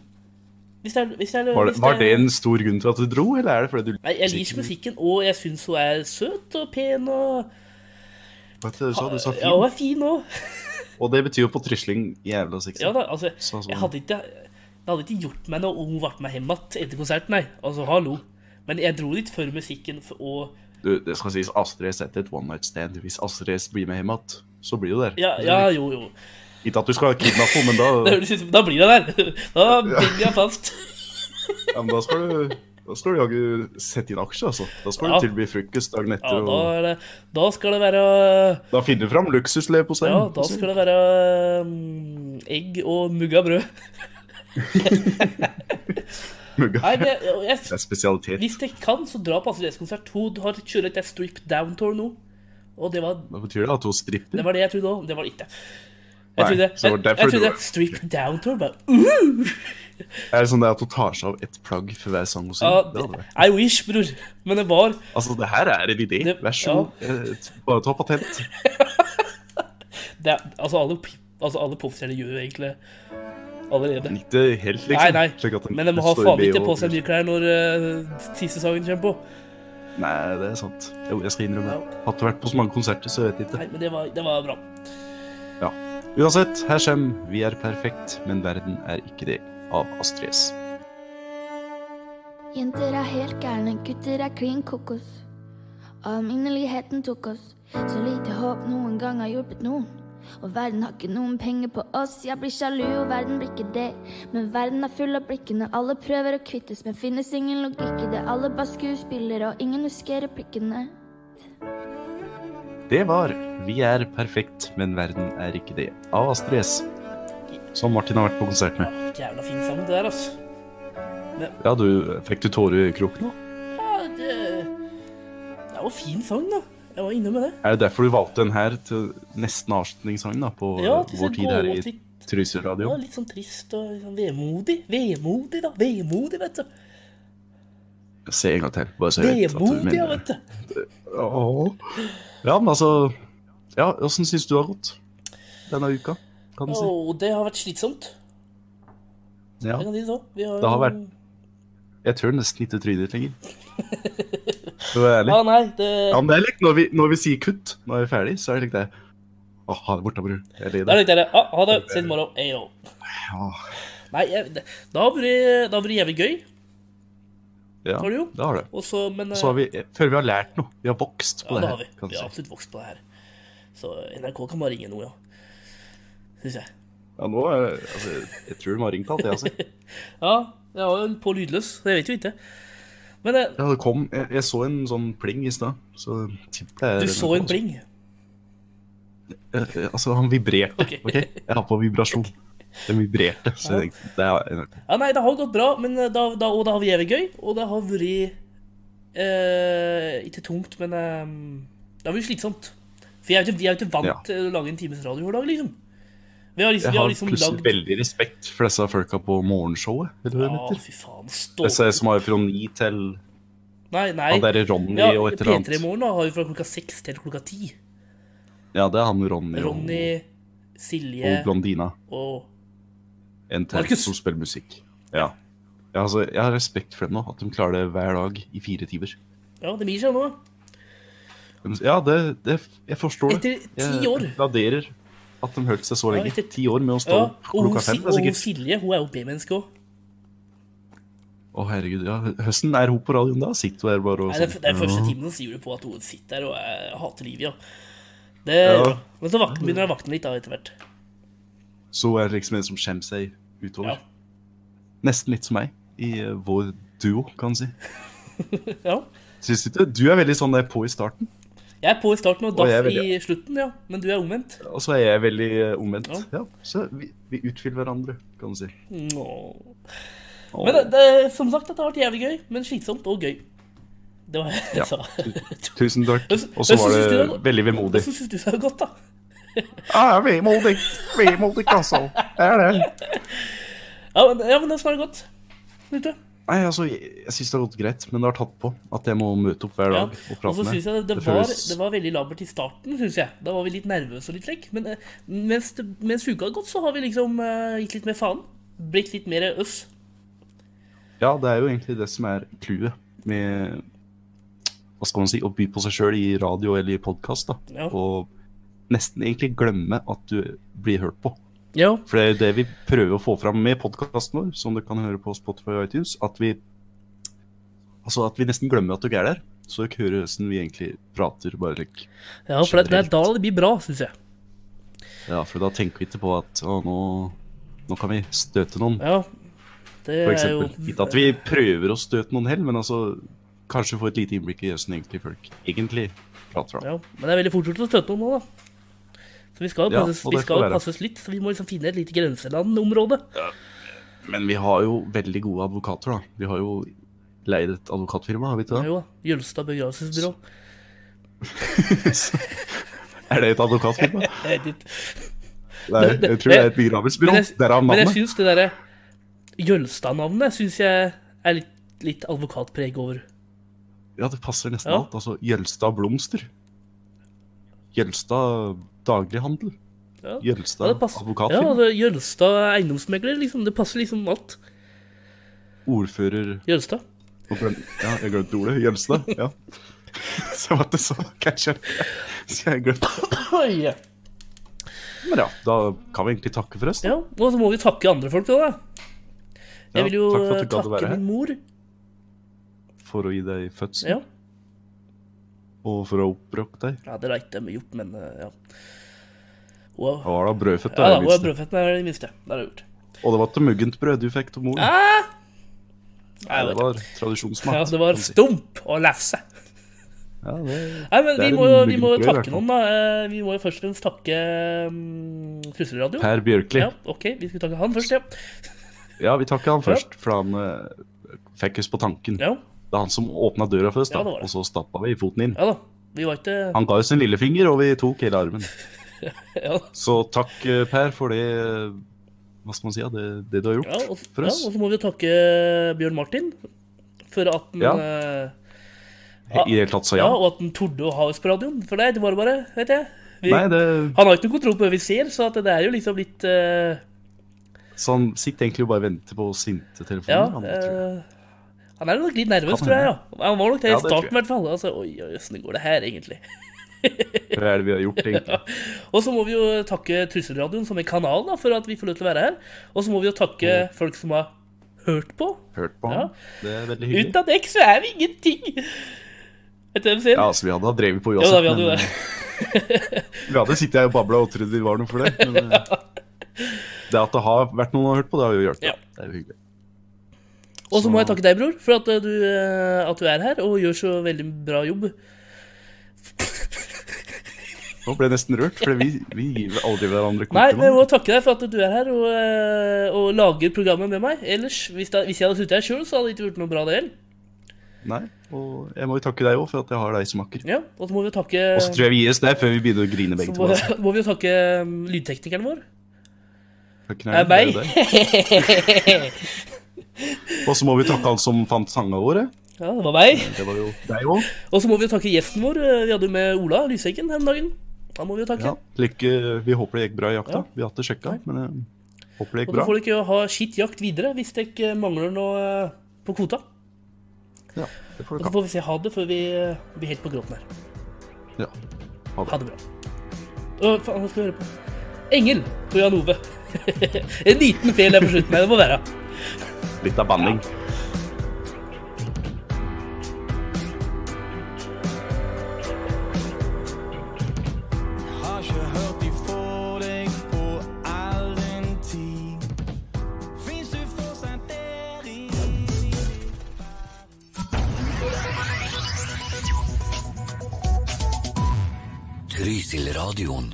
Speaker 3: Hvis det er, hvis det er,
Speaker 2: Var det,
Speaker 3: hvis
Speaker 2: var det en stor grunn til at du dro, eller er det fordi du
Speaker 3: Nei, jeg liker musikken, og jeg syns hun er søt og pen og
Speaker 2: Hva er det du sa? Du sa
Speaker 3: Ja, hun
Speaker 2: fin.
Speaker 3: er fin òg.
Speaker 2: Og det betyr jo på trysling jævla sexy.
Speaker 3: Ja da, altså,
Speaker 2: Så- så-
Speaker 3: jeg hadde ikke, det hadde ikke gjort meg noe om hun ble med hjem igjen etter konserten, nei. Altså, hallo. Men jeg dro litt før musikken, f- og
Speaker 2: Du, det skal sies Astrid setter et one night stand. Hvis Astrid blir med hjem igjen, så blir du der.
Speaker 3: Ja, ja jo, jo.
Speaker 2: Ikke at du skal kidnappe henne, men
Speaker 3: Det
Speaker 2: da,
Speaker 3: høres ut som Da blir jeg der! Da binder jeg fast.
Speaker 2: ja, men da skal du da skal du jaggu sette inn aksjer, altså. Da skal
Speaker 3: Ja.
Speaker 2: du tilby frokost dagen
Speaker 3: Ja,
Speaker 2: etter.
Speaker 3: da,
Speaker 2: og
Speaker 3: er det, da skal det være
Speaker 2: da finner du fram luksusleverposteien.
Speaker 3: Ja, da skal det være mm, egg og mugga brød. Nei,
Speaker 2: Mugga.
Speaker 3: men jeg,
Speaker 2: Det
Speaker 3: jeg,
Speaker 2: er spesialitet.
Speaker 3: hvis jeg kan, så dra på Astrid S-konsert. Hun har kjører et strip down-tour nå, og det var
Speaker 2: Hva betyr det? At hun stripper?
Speaker 3: Det var det jeg trodde òg. Det var det ikke. Jeg
Speaker 2: Nei,
Speaker 3: trodde,
Speaker 2: så det var
Speaker 3: jeg,
Speaker 2: derfor
Speaker 3: jeg
Speaker 2: du
Speaker 3: trodde
Speaker 2: var-
Speaker 3: Strip Down Tour bare uh,
Speaker 2: Er det sånn det at hun tar seg av ett plagg for hver sang hun
Speaker 3: ja,
Speaker 2: synger? Det hadde vært-
Speaker 3: I wish, bror. Men det var
Speaker 2: Altså, det her er en idé.
Speaker 3: Det-
Speaker 2: Vær så god. Eh, t- Bare ta patent.
Speaker 3: det, er- Altså, alle, pi- altså, alle popstjerner gjør jo egentlig allerede.
Speaker 2: Ikke helt, liksom.
Speaker 3: Nei, nei.
Speaker 2: slik at
Speaker 3: Men de har
Speaker 2: står i liksom.
Speaker 3: faen
Speaker 2: BH
Speaker 3: ikke på seg nye klær når eh, siste sangen kommer på.
Speaker 2: Nei, det er sant. Jo, jeg skal innrømme det.
Speaker 3: Ja.
Speaker 2: Hadde du vært på så mange konserter, så vet jeg ikke.
Speaker 3: Nei, men det var, det var bra.
Speaker 2: Ja. Uansett, her kommer Vi er perfekt, men verden er ikke det, av Astrid S.
Speaker 4: Jenter er helt gærne, gutter er klin kokos. Alminneligheten tok oss. Så lite håp noen gang har hjulpet noen. Og verden har ikke noen penger på oss. Jeg blir sjalu, og verden blir ikke det. Men verden er full av blikkene alle prøver å kvittes med. Finnes ingen logikk i det. Alle bare skuespillere, og ingen husker replikkene.
Speaker 2: Det var Vi er perfekt, men verden er ikke det, av Astrid S. Som Martin har vært på konsert med.
Speaker 3: Jævla fin sang, det der, altså.
Speaker 2: Ja, du, fikk du tårer i kroken nå?
Speaker 3: Ja, det, det var fin sang, da. Jeg var inne med det.
Speaker 2: Er det derfor du valgte den her til nesten avslutningssangen da, på
Speaker 3: Ja,
Speaker 2: eh,
Speaker 3: til
Speaker 2: vår
Speaker 3: å
Speaker 2: tid
Speaker 3: gå
Speaker 2: her
Speaker 3: ut
Speaker 2: i
Speaker 3: litt.
Speaker 2: Trysil
Speaker 3: Det
Speaker 2: Radio?
Speaker 3: var litt sånn trist og litt sånn vemodig. Vemodig, da. Vemodig, vet du.
Speaker 2: Se en gang til, bare så jeg vet at du
Speaker 3: Vemodig, ja,
Speaker 2: mener det.
Speaker 3: vet du.
Speaker 2: Åh. Ja, men altså Ja, åssen syns du det har gått denne uka, kan du si?
Speaker 3: Åh, det har vært slitsomt.
Speaker 2: Ja,
Speaker 3: Jeg kan si det, så. Vi har,
Speaker 2: Det har
Speaker 3: jo-
Speaker 2: vært- jeg tør nesten ikke trynet ditt lenger. For å være ærlig.
Speaker 3: Ja, nei, det
Speaker 2: Ja, men det er litt når vi, når vi sier kutt, når vi er ferdig, så er det litt det Å, ha det borte, bror. Jeg er lei
Speaker 3: Da er
Speaker 2: deg.
Speaker 3: det litt der, ah, Ha det. Siden morgen. Ayo.
Speaker 2: Ja,
Speaker 3: Nei, jeg, det, det har vært det har vært jævlig gøy.
Speaker 2: ja,
Speaker 3: Har du jo?
Speaker 2: det har det.
Speaker 3: Og så, men
Speaker 2: Og så har
Speaker 3: eh,
Speaker 2: vi Før vi har lært noe. Vi har vokst på
Speaker 3: Ja,
Speaker 2: det
Speaker 3: det har
Speaker 2: her.
Speaker 3: vi.
Speaker 2: kan
Speaker 3: Vi
Speaker 2: du
Speaker 3: har
Speaker 2: si.
Speaker 3: absolutt vokst på det her. Så NRK kan bare ringe nå, ja. Syns jeg.
Speaker 2: Ja, nå er altså, Jeg tror de har ringt alt, jeg, altså.
Speaker 3: Ja, jeg har jo på lydløs, så jeg vet jo ikke. Men eh,
Speaker 2: Ja, det kom, jeg, jeg så en sånn pling i stad. Så tipper jeg
Speaker 3: du så en bling.
Speaker 2: Eh, eh, Altså, han vibrerte.
Speaker 3: Ok.
Speaker 2: OK? Jeg har på vibrasjon. Den vibrerte. Så jeg tenkte det er NRK.
Speaker 3: Ja, nei, det har gått bra, men eh, da, da, og det har vært jævlig gøy. Og det har vært eh, Ikke tungt, men eh, det har vært slitsomt. For jeg er jo ikke, vi er jo ikke vant
Speaker 2: Ja.
Speaker 3: til å lage en times radio hver dag, liksom. Vi har liksom,
Speaker 2: Jeg
Speaker 3: vi har
Speaker 2: har
Speaker 3: liksom
Speaker 2: plutselig
Speaker 3: lagd
Speaker 2: veldig respekt for disse folka på morgenshowet. Eller hva det
Speaker 3: Ja,
Speaker 2: heter.
Speaker 3: fy faen. Stå
Speaker 2: Disse som har fra ni til
Speaker 3: Nei, nei.
Speaker 2: Han derre Ronny
Speaker 3: Ja,
Speaker 2: og et eller
Speaker 3: P3
Speaker 2: annet.
Speaker 3: Morgen da, har jo fra klokka seks til klokka ti.
Speaker 2: Ja, det er han Ronny, og-
Speaker 3: Ronny,
Speaker 2: og
Speaker 3: Silje
Speaker 2: blondina.
Speaker 3: og
Speaker 2: En til
Speaker 3: Markus.
Speaker 2: som spiller musikk. Ja. ja altså, jeg har respekt for dem nå, at de klarer det hver dag i fire timer.
Speaker 3: Ja, det gir seg nå.
Speaker 2: De- Ja, det, det Jeg forstår det.
Speaker 3: Etter ti
Speaker 2: Jeg
Speaker 3: år.
Speaker 2: Graderer at de holdt seg så lenge.
Speaker 3: etter-
Speaker 2: Ti år med å stå
Speaker 3: Ja,
Speaker 2: opp
Speaker 3: og hun,
Speaker 2: klokka
Speaker 3: Si-
Speaker 2: fem. Det
Speaker 3: og
Speaker 2: er
Speaker 3: hun
Speaker 2: sikkert
Speaker 3: Silje hun er jo B-menneske òg.
Speaker 2: Å, herregud. ja, Høsten er hun på radioen da? Sitter hun der bare og
Speaker 3: Det er
Speaker 2: sånn?
Speaker 3: den første timen hun sier det på at hun sitter der og eh, hater livet, ja. Det,
Speaker 2: Ja.
Speaker 3: Men så vak- begynner jeg å vakne litt da etter hvert.
Speaker 2: Så er det liksom en som skjemmer seg utover.
Speaker 3: Ja.
Speaker 2: Nesten litt som meg i eh, vår duo, kan man si.
Speaker 3: Ja.
Speaker 2: Syns ikke du er veldig sånn der på i starten,
Speaker 3: Jeg er på i starten og
Speaker 2: Og jeg er
Speaker 3: daff
Speaker 2: veldig-
Speaker 3: i slutten, ja. Men du er omvendt.
Speaker 2: og så er jeg veldig eh, omvendt.
Speaker 3: Ja.
Speaker 2: Ja, så vi, vi utfyller hverandre, kan man si.
Speaker 3: Nå.
Speaker 2: Åh.
Speaker 3: Men det, det, som sagt, dette har vært jævlig gøy, men slitsomt og gøy. Det var jeg
Speaker 2: Ja.
Speaker 3: sa.
Speaker 2: Tusen takk.
Speaker 3: Men-
Speaker 2: Og så
Speaker 3: men
Speaker 2: var
Speaker 3: synes du
Speaker 2: det
Speaker 3: det var-
Speaker 2: veldig vemodig.
Speaker 3: Hvordan syns du det har gått, da?
Speaker 2: Ja, vemodig. Vemodig, altså. Det er det.
Speaker 3: Ja, men, ja, men det har det gått. Vet du?
Speaker 2: Nei, altså, jeg, jeg syns det har gått greit, men det har tatt på at jeg må møte opp hver
Speaker 3: Ja.
Speaker 2: dag og
Speaker 3: Og så
Speaker 2: prate med.
Speaker 3: synes jeg det, det,
Speaker 2: Det
Speaker 3: var,
Speaker 2: føles-
Speaker 3: det var veldig labert i starten, syns jeg. Da var vi litt nervøse og litt slik. Men eh, mens, det- mens uka har gått, så har vi liksom eh, gitt litt mer faen. Blitt litt mer øss.
Speaker 2: Ja, det er jo egentlig det som er clouet med Hva skal man si? Å by på seg sjøl i radio eller i podkast, da.
Speaker 3: Ja.
Speaker 2: Og nesten egentlig glemme at du blir hørt på.
Speaker 3: Ja.
Speaker 2: For det er jo det vi prøver å få fram med podkasten vår, som du kan høre på Spotify og iTunes, at vi Altså at vi nesten glemmer at dere er der, så dere hører hvordan vi egentlig prater, bare like
Speaker 3: Ja, for det, det er da det blir bra, syns jeg.
Speaker 2: Ja, for da tenker vi ikke på at å, nå, nå kan vi støte noen,
Speaker 3: Ja. Det
Speaker 2: for
Speaker 3: er jo
Speaker 2: eksempel. Ikke at vi prøver å støte noen heller, men altså kanskje få et lite innblikk i hvordan egentlig folk egentlig prater. Da.
Speaker 3: Ja, men det er veldig fort gjort å støte noen nå, da. Så vi skal jo
Speaker 2: Ja,
Speaker 3: passes,
Speaker 2: og det
Speaker 3: vi
Speaker 2: får
Speaker 3: skal jo
Speaker 2: være.
Speaker 3: passes litt, så vi må liksom finne et lite grenselandområde.
Speaker 2: Men vi har jo veldig gode advokater, da. Vi har jo leid et advokatfirma, har vi ikke
Speaker 3: Ja.
Speaker 2: det?
Speaker 3: Jo da. Jølstad begravelsesbyrå.
Speaker 2: Er det et advokatfirma?
Speaker 3: Jeg vet ikke.
Speaker 2: Nei,
Speaker 3: det-
Speaker 2: jeg tror det er et
Speaker 3: Men
Speaker 2: begravelsesbyrå.
Speaker 3: jeg,
Speaker 2: Derav
Speaker 3: men jeg
Speaker 2: navnet.
Speaker 3: syns det derre Jølstad-navnet syns jeg er litt, litt advokatpreg over.
Speaker 2: Ja, det passer nesten
Speaker 3: Ja.
Speaker 2: alt. Altså Jølstad Blomster. Jølstad Daglighandel.
Speaker 3: Ja. Ja,
Speaker 2: Jølstad
Speaker 3: det passer. Ja,
Speaker 2: Advokatfirma.
Speaker 3: det, Jølstad eiendomsmegler, liksom. Det passer liksom alt.
Speaker 2: Ordfører
Speaker 3: Jølstad.
Speaker 2: Og glem, ja, jeg glemte ordet. Jølstad. Ja. Så var det så catcher. Så jeg glemte
Speaker 3: Oi.
Speaker 2: Men ja, da kan vi egentlig takke for oss. da.
Speaker 3: Ja, og så må vi takke andre folk òg, da.
Speaker 2: Ja,
Speaker 3: Jeg vil jo
Speaker 2: takk for at du
Speaker 3: eh,
Speaker 2: gadd å være
Speaker 3: takke
Speaker 2: her.
Speaker 3: min mor.
Speaker 2: For å gi deg fødsel,
Speaker 3: Ja.
Speaker 2: og for å ha oppbråkt deg.
Speaker 3: Ja, det leit de gjort, men eh, ja. Wow.
Speaker 2: Det var da brødfødt,
Speaker 3: Ja
Speaker 2: da, i
Speaker 3: da,
Speaker 2: det
Speaker 3: og
Speaker 2: minste.
Speaker 3: brødfetten er det minste. Det er det gjort.
Speaker 2: Og det var til muggent brød du fikk til mor.
Speaker 3: Nei,
Speaker 2: det
Speaker 3: var,
Speaker 2: var tradisjonsmat.
Speaker 3: ja, det var stump og lefse.
Speaker 2: Ja, det...
Speaker 3: Nei,
Speaker 2: Det
Speaker 3: men vi
Speaker 2: er
Speaker 3: må,
Speaker 2: en
Speaker 3: jo, vi må jo
Speaker 2: muggbrød, i hvert fall.
Speaker 3: takke noen, da. Eh, Vi må jo først og fremst takke um, Trusseladio.
Speaker 2: Per Bjørkli.
Speaker 3: Ja,
Speaker 2: Ja.
Speaker 3: OK, vi skulle takke han først, ja.
Speaker 2: vi takker han først, for han eh, fikk oss på tanken.
Speaker 3: Ja,
Speaker 2: Det er han som åpna døra først,
Speaker 3: Ja,
Speaker 2: da,
Speaker 3: det var det.
Speaker 2: og så stappa vi foten inn.
Speaker 3: ja da. Vi var ikke
Speaker 2: Han ga oss en lillefinger, og vi tok hele armen.
Speaker 3: Ja,
Speaker 2: Så takk, eh, Per, for det eh, Hva skal man si? Ja, det, det du har gjort
Speaker 3: ja, og,
Speaker 2: for
Speaker 3: ja,
Speaker 2: oss.
Speaker 3: og så må vi jo takke eh, Bjørn Martin for at han
Speaker 2: Ja.
Speaker 3: eh,
Speaker 2: I det hele tatt, så
Speaker 3: ja,
Speaker 2: ja.
Speaker 3: og at han torde å ha oss på radioen. For det var det bare, vet jeg. Vi,
Speaker 2: Nei, det,
Speaker 3: Han har ikke noe kontroll på hva vi ser, så at det er jo liksom litt eh,
Speaker 2: så han sitter sånn, egentlig og bare venter på sinte
Speaker 3: Ja.
Speaker 2: telefoner. han, tror jeg.
Speaker 3: eh, han er nok litt nervøs,
Speaker 2: Kan
Speaker 3: tror jeg. ja. Han var nok det i
Speaker 2: Ja, det tror
Speaker 3: starten, i hvert fall. Altså, oi, oi, åssen går det her, egentlig?
Speaker 2: Hva er det vi har gjort, egentlig?
Speaker 3: Og så må vi jo takke Trusselradioen som en kanal da, for at vi får lov til å være her. Og så må vi jo takke
Speaker 2: Mm.
Speaker 3: folk som har hørt på.
Speaker 2: Hørt på
Speaker 3: Ja.
Speaker 2: han. Det er veldig hyggelig.
Speaker 3: Uten deg så er vi ingenting! Vet du hva jeg sier?
Speaker 2: Ja, altså, vi hadde ha drevet på
Speaker 3: Ja,
Speaker 2: uansett.
Speaker 3: da, vi hadde jo
Speaker 2: men,
Speaker 3: det.
Speaker 2: eh, vi hadde sittet her og babla og trodd vi var noe for det. Men eh, det at det har vært noen som har hørt på, det har jo hjulpet.
Speaker 3: Ja.
Speaker 2: Det er jo hyggelig.
Speaker 3: Og så må jeg
Speaker 2: så-
Speaker 3: takke deg, bror, for at eh, du, eh, at du er her og gjør så veldig bra jobb.
Speaker 2: Nå ble jeg nesten rørt, for vi, vi gir aldri hverandre
Speaker 3: Nei, men jeg må
Speaker 2: kompliment.
Speaker 3: takke deg for at du er her og, eh, og lager programmet med meg. Ellers, hvis, da, hvis jeg hadde sittet her sjøl, så hadde det ikke vært noe bra, det heller.
Speaker 2: Nei, og jeg må jo takke deg òg, for at jeg har deg som makker.
Speaker 3: Ja, og så må vi jo takke
Speaker 2: Og så tror jeg vi gir oss der før vi begynner å grine begge
Speaker 3: Eh, så
Speaker 2: to.
Speaker 3: må,
Speaker 2: Altså.
Speaker 3: må vi jo takke um, lydteknikeren vår.
Speaker 2: Takk,
Speaker 3: Det
Speaker 2: Kneier,
Speaker 3: er meg.
Speaker 2: det er deg. Og så må vi takke han som fant sanga våre.
Speaker 3: Ja, det var meg.
Speaker 2: Det var jo deg òg.
Speaker 3: Og så må vi jo takke gjesten vår. eh, Vi hadde jo med Ola Lyseggen her om dagen. Han må vi jo takke.
Speaker 2: Ja. Lykke, vi håper det gikk bra i jakta.
Speaker 3: Ja.
Speaker 2: Vi har ikke sjekka, men eh, håper det
Speaker 3: Og
Speaker 2: gikk
Speaker 3: så
Speaker 2: bra.
Speaker 3: får dere jo ha skitt jakt videre hvis dere mangler noe eh, på kvota.
Speaker 2: Ja, det får
Speaker 3: Og
Speaker 2: du
Speaker 3: så
Speaker 2: ta.
Speaker 3: får vi si ha det før vi eh, blir helt på gråten her.
Speaker 2: Ja. Ha det.
Speaker 3: Ha det bra. Å, faen, hva skal vi høre på? Engel på Jan Ove. en liten feil der på slutten. her, Det må være.
Speaker 2: Litt av banning.
Speaker 5: Trysil-radioen.